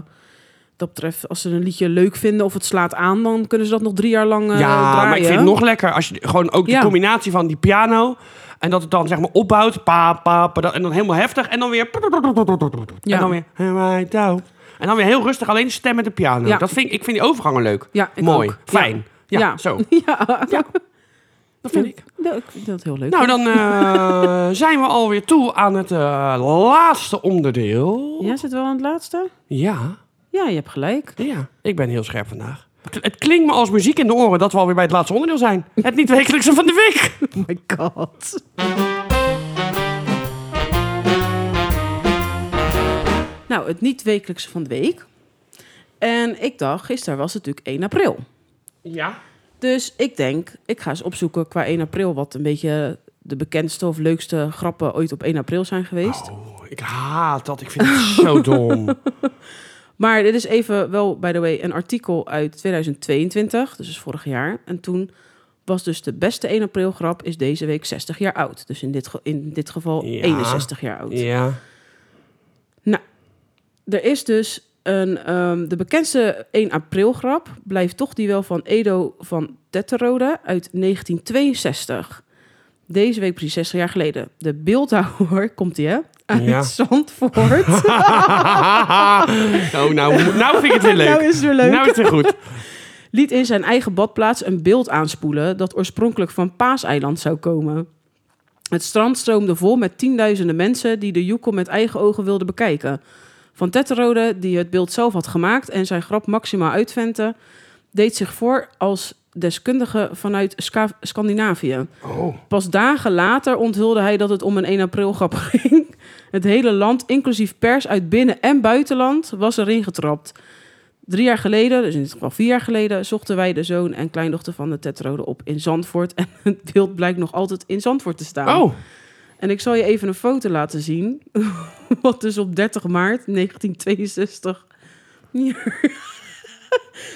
S2: dat betreft, als ze een liedje leuk vinden of het slaat aan... dan kunnen ze dat nog drie jaar lang eh,
S1: Ja,
S2: draaien.
S1: maar ik vind het nog lekker als je gewoon ook
S2: Ja.
S1: de combinatie van die piano en dat het dan zeg maar opbouwt, pa, pa, pa, dat- en dan helemaal heftig en dan weer
S2: Ja.
S1: en dan weer am I down? en dan weer heel rustig alleen de stem met de piano.
S2: Ja.
S1: Dat vind ik, ik vind die overgangen leuk,
S2: Ja, ik
S1: mooi,
S2: ook.
S1: fijn. Ja,
S2: Ja.
S1: zo.
S2: Ja.
S1: Ja. Dat vind ik.
S2: Ja, ik vind dat heel leuk.
S1: Nou, dan eh, zijn we alweer toe aan het eh, laatste onderdeel.
S2: Ja, zit wel aan het laatste?
S1: Ja,
S2: Ja, je hebt gelijk.
S1: ja, ik ben heel scherp vandaag. Het- Het klinkt me als muziek in de oren dat we alweer bij het laatste onderdeel zijn. Het niet-wekelijkse van de week.
S2: Oh my god. Nou, het niet-wekelijkse van de week. En ik dacht, gisteren was het natuurlijk 1 april.
S1: Ja.
S2: Dus ik denk, ik ga eens opzoeken qua 1 april... wat een beetje de bekendste of leukste grappen ooit op 1 april zijn geweest.
S1: Oh, ik haat dat. Ik vind het zo dom.
S2: Maar dit is even wel, by the way, een artikel uit 2022, dus is vorig jaar. En toen was dus de beste 1 april grap is deze week 60 jaar oud. Dus in dit, ge- in dit geval
S1: Ja.
S2: 61 jaar oud.
S1: Ja.
S2: Er is dus een, ehm, de bekendste 1 april grap, blijft toch die wel van Edo van Tetterode uit 1962. Deze week precies 60 jaar geleden. De beeldhouwer, komt die hè? Uit
S1: Ja.
S2: Zandvoort.
S1: oh, nou, nou vind ik het weer leuk.
S2: nou is het weer leuk.
S1: Nou is het weer goed.
S2: liet in zijn eigen badplaats een beeld aanspoelen dat oorspronkelijk van Paaseiland zou komen. Het strand stroomde vol met tienduizenden mensen die de joekel met eigen ogen wilden bekijken. Van Tetterode, die het beeld zelf had gemaakt en zijn grap maximaal uitventte, deed zich voor als deskundige vanuit Ska- Scandinavië.
S1: Oh.
S2: Pas dagen later onthulde hij dat het om een 1 april grap ging. Het hele land, inclusief pers uit binnen- en buitenland, was erin getrapt. Drie jaar geleden, dus in dit geval vier jaar geleden, zochten wij de zoon en kleindochter van de tetrode op in Zandvoort. En het beeld blijkt nog altijd in Zandvoort te staan.
S1: Oh.
S2: En ik zal je even een foto laten zien. Wat dus op 30 maart 1962. hier-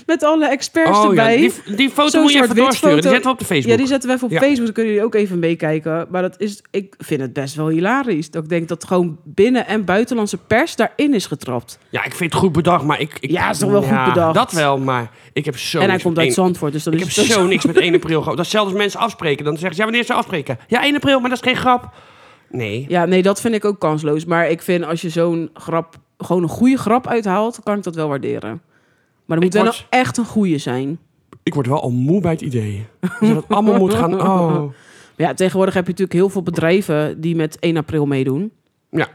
S2: Met alle experts
S1: oh ja.
S2: erbij.
S1: Die, die foto
S2: Zo'n
S1: moet je even
S2: zwart-wit
S1: doorsturen. Die
S2: foto.
S1: zetten we op de Facebook.
S2: Ja, die zetten we even op
S1: Ja.
S2: Facebook. Dan kunnen jullie ook even meekijken. Maar dat is, ik vind het best wel hilarisch. Dat ik denk dat gewoon binnen- en buitenlandse pers daarin is getrapt.
S1: Ja, ik vind het goed bedacht, maar ik... ik
S2: Ja, is toch wel goed
S1: Ja,
S2: bedacht.
S1: Dat wel, maar ik heb zo...
S2: en hij
S1: niks
S2: komt
S1: met
S2: uit
S1: één-
S2: Zandvoort. Dus dan
S1: Ik
S2: is
S1: heb
S2: het
S1: zo niks met 1 april gehad. Dat is zelfs als mensen afspreken. Dan zeggen ze, ja, wanneer ze afspreken? Ja, 1 april, maar dat is geen grap. Nee.
S2: Ja, nee, dat vind ik ook kansloos. Maar ik vind als je zo'n grap, gewoon een goede grap uithaalt, kan ik dat wel waarderen. Maar er moet wel
S1: word-
S2: nou echt een goede zijn.
S1: Ik word wel al moe bij het idee. Dus dat allemaal moet gaan. Oh.
S2: Ja, tegenwoordig heb je natuurlijk heel veel bedrijven die met 1 april meedoen.
S1: Ja.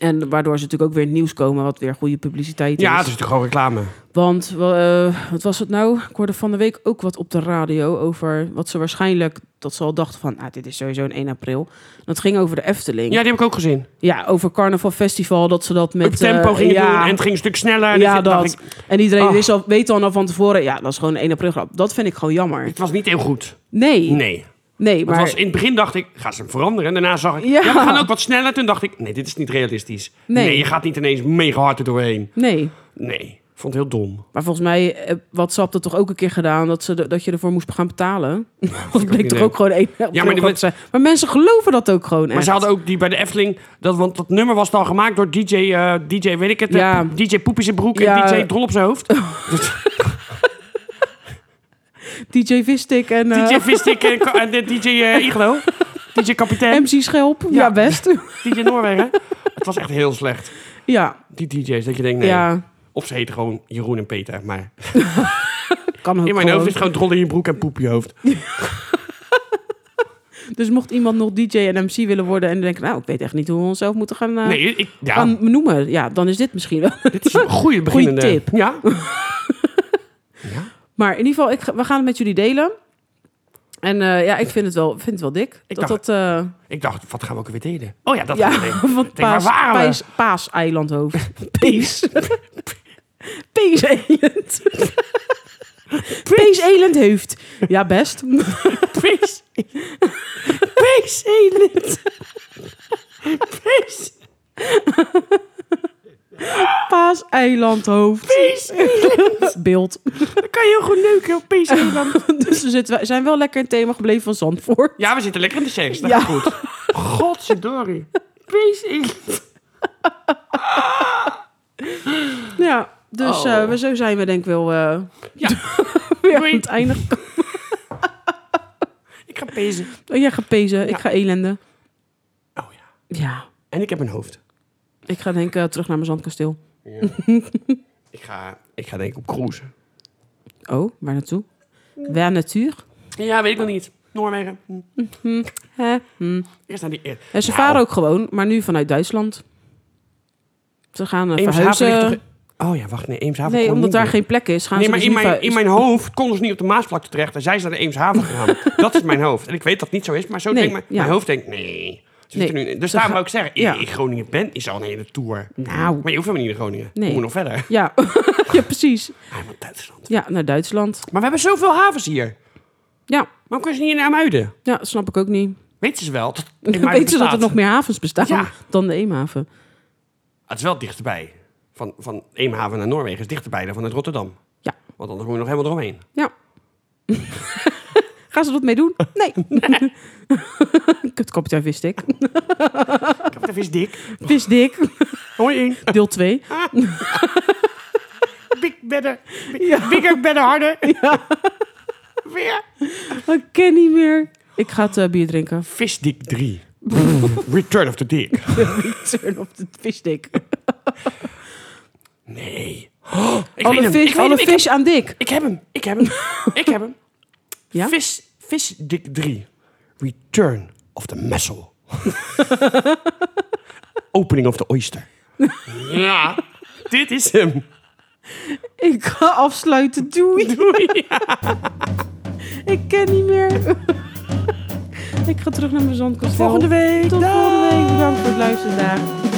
S2: En waardoor ze natuurlijk ook weer in het nieuws komen, wat weer goede publiciteit
S1: ja, het
S2: is.
S1: is natuurlijk gewoon reclame.
S2: Want, eh, wat was het nou? Ik hoorde van de week ook wat op de radio over wat ze waarschijnlijk... dat ze al dachten van, ah, dit is sowieso een 1 april. Dat ging over de Efteling.
S1: Ja, die heb ik ook gezien.
S2: Ja, over Carnaval Festival, dat ze dat met...
S1: Op tempo
S2: eh,
S1: ging het
S2: ja,
S1: doen en het ging een stuk sneller. En
S2: ja,
S1: dit- dacht
S2: dat.
S1: ik,
S2: En iedereen
S1: Ah.
S2: wist al, weet dan al van tevoren... ja, dat is gewoon een 1 april grap. Dat vind ik gewoon jammer.
S1: het was niet heel goed.
S2: Nee, nee,
S1: Nee.
S2: maar...
S1: Het was, in het begin dacht ik, gaan ze hem veranderen? En daarna zag ik,
S2: Ja.
S1: ja. we gaan ook wat sneller. Toen dacht ik, nee, dit is niet realistisch.
S2: Nee.
S1: Nee, je gaat niet ineens mega hard er doorheen.
S2: Nee,
S1: Nee, ik vond het heel dom.
S2: maar volgens mij heeft WhatsApp dat toch ook een keer gedaan... dat, ze de- dat je ervoor moest gaan betalen.
S1: Nou,
S2: dat
S1: ook
S2: bleek
S1: niet
S2: toch
S1: leuk.
S2: ook gewoon 1 april
S1: die
S2: grap te
S1: met-
S2: zijn. Maar mensen geloven dat ook gewoon
S1: Maar
S2: echt.
S1: ze hadden ook die bij de Efteling, dat, want dat nummer was dan gemaakt door DJ, eh, DJ weet ik het, eh,
S2: Ja.
S1: DJ Poep in zijn broek
S2: Ja.
S1: en DJ Drol op zijn hoofd.
S2: DJ Vistik en... eh,
S1: DJ Vistik en, ka- en de DJ eh, Iglo. DJ Kapitein,
S2: MC Schelp, ja,
S1: Ja.
S2: best.
S1: DJ Noorwegen. Het was echt heel slecht.
S2: ja,
S1: Die DJ's, dat je denkt, nee.
S2: ja,
S1: Of ze heten gewoon Jeroen en Peter, maar...
S2: kan ook
S1: In mijn
S2: gewoon.
S1: hoofd is gewoon drol in je broek en poep in je hoofd.
S2: Dus mocht iemand nog DJ en MC willen worden en denken... nou, ik weet echt niet hoe we onszelf moeten gaan, eh,
S1: Nee, ik, ja,
S2: gaan noemen. Ja, dan is dit misschien wel.
S1: dit is een goede beginnende.
S2: tip.
S1: Ja.
S2: Maar in ieder geval, ik, ga- we gaan het met jullie delen. En eh, ja, ik vind het wel, vind het wel dik.
S1: Ik
S2: dat
S1: dacht-
S2: dat... eh,
S1: Ik dacht, wat gaan we ook weer delen? Oh ja, dat
S2: ja,
S1: gaan we delen.
S2: van
S1: denk, waar
S2: paas,
S1: waren we?
S2: paas, paaseilandhoofd. Pees. Peeselend. Peeselendhoofd. Ja, best.
S1: Pees.
S2: Peeselend.
S1: Pees.
S2: Paaseilandhoofd.
S1: Pees.
S2: Beeld.
S1: Dan kan je heel goed neuken op Pees Eiland.
S2: Dus we zitten, we zijn wel lekker in het thema gebleven van Zandvoort.
S1: Ja, we zitten lekker in de seks. Dat
S2: Ja.
S1: is goed. Godverdorie. Pees Eiland.
S2: Ja, dus
S1: Oh.
S2: eh, we zo zijn we denk ik wel eh,
S1: Ja.
S2: weer
S1: Doei.
S2: aan het einde. gekomen.
S1: Ik ga pezen.
S2: Oh, Jij ja, gaat pezen, ik
S1: Ja.
S2: ga elenden.
S1: Oh ja.
S2: Ja,
S1: En ik heb een hoofd.
S2: ik ga denk ik eh, terug naar mijn zandkasteel.
S1: Ik ga, ik ga denk ik op cruise.
S2: Oh, waar naartoe? Waar natuur?
S1: Ja, weet ik nog niet. Noorwegen. Hm.
S2: Hè? Hm.
S1: Eerst naar die... eer-
S2: En ze
S1: Nou,
S2: varen ook gewoon, maar nu vanuit Duitsland. Ze gaan eh,
S1: Eemshaven
S2: verhuizen.
S1: ligt toch- Oh ja, wacht. Nee, Eemshaven
S2: Nee,
S1: kon
S2: omdat
S1: niet
S2: daar
S1: meer.
S2: geen plek is. Gaan
S1: Nee,
S2: ze
S1: maar
S2: dus
S1: in
S2: nu
S1: mijn,
S2: ver-
S1: in mijn hoofd konden ze niet op de Maasvlakte terecht. En zij zijn naar Eemshaven gegaan. dat is mijn hoofd. En ik weet dat het niet zo is, maar zo
S2: Nee,
S1: denkt mijn,
S2: ja.
S1: mijn hoofd denkt, nee. Ze
S2: Nee,
S1: zitten nu, in- dus
S2: ze
S1: daarom wou
S2: gaan-
S1: ik zeggen,
S2: ja.
S1: ik in Groningen ben is al een hele tour.
S2: Nou.
S1: Maar je hoeft helemaal niet in Groningen.
S2: Nee.
S1: Je moet nog verder. Ah,
S2: Ja. ja, precies.
S1: Hij moet Duitsland.
S2: Ja, naar Duitsland.
S1: Maar we hebben zoveel havens hier.
S2: Ja,
S1: Waarom kunnen ze niet naar Muiden?
S2: ja snap ik ook niet.
S1: Weten ze wel. Dat in Muiden
S2: Weten ze dat er
S1: bestaat.
S2: nog meer havens bestaan
S1: Ja.
S2: dan de Eemhaven?
S1: Ah, Het is wel dichterbij. Van, van Eemhaven naar Noorwegen is dichterbij dan vanuit Rotterdam.
S2: Ja.
S1: Want anders moet je nog helemaal eromheen.
S2: Ja. Gaan ze dat mee doen? Nee. Kutkapitein Visdik.
S1: Ik heb de vis dik.
S2: Visdik,
S1: Hoi in.
S2: deel 2.
S1: Big better. Big,
S2: Ja.
S1: Bigger, better, harder. Weer.
S2: Ik ken niet meer. Ik ga het eh, bier drinken.
S1: Visdik 3. Return of the Dick.
S2: Turn op de visdik.
S1: Nee. Oh, ik weet
S2: Alle
S1: hem, ik
S2: vis,
S1: weet
S2: alle
S1: hem, ik, heb-
S2: vis aan dik.
S1: ik heb hem. Ik heb hem. ik heb hem.
S2: Ja?
S1: Vis, visdik 3. Return of the Messel. Opening of the Oyster. ja, dit is hem.
S2: Ik ga afsluiten. Doei. Ik ken niet meer. Ik ga terug naar mijn zandkasteel.
S1: Volgende week.
S2: Tot volgende week. Bedankt voor het luisteren. Dag.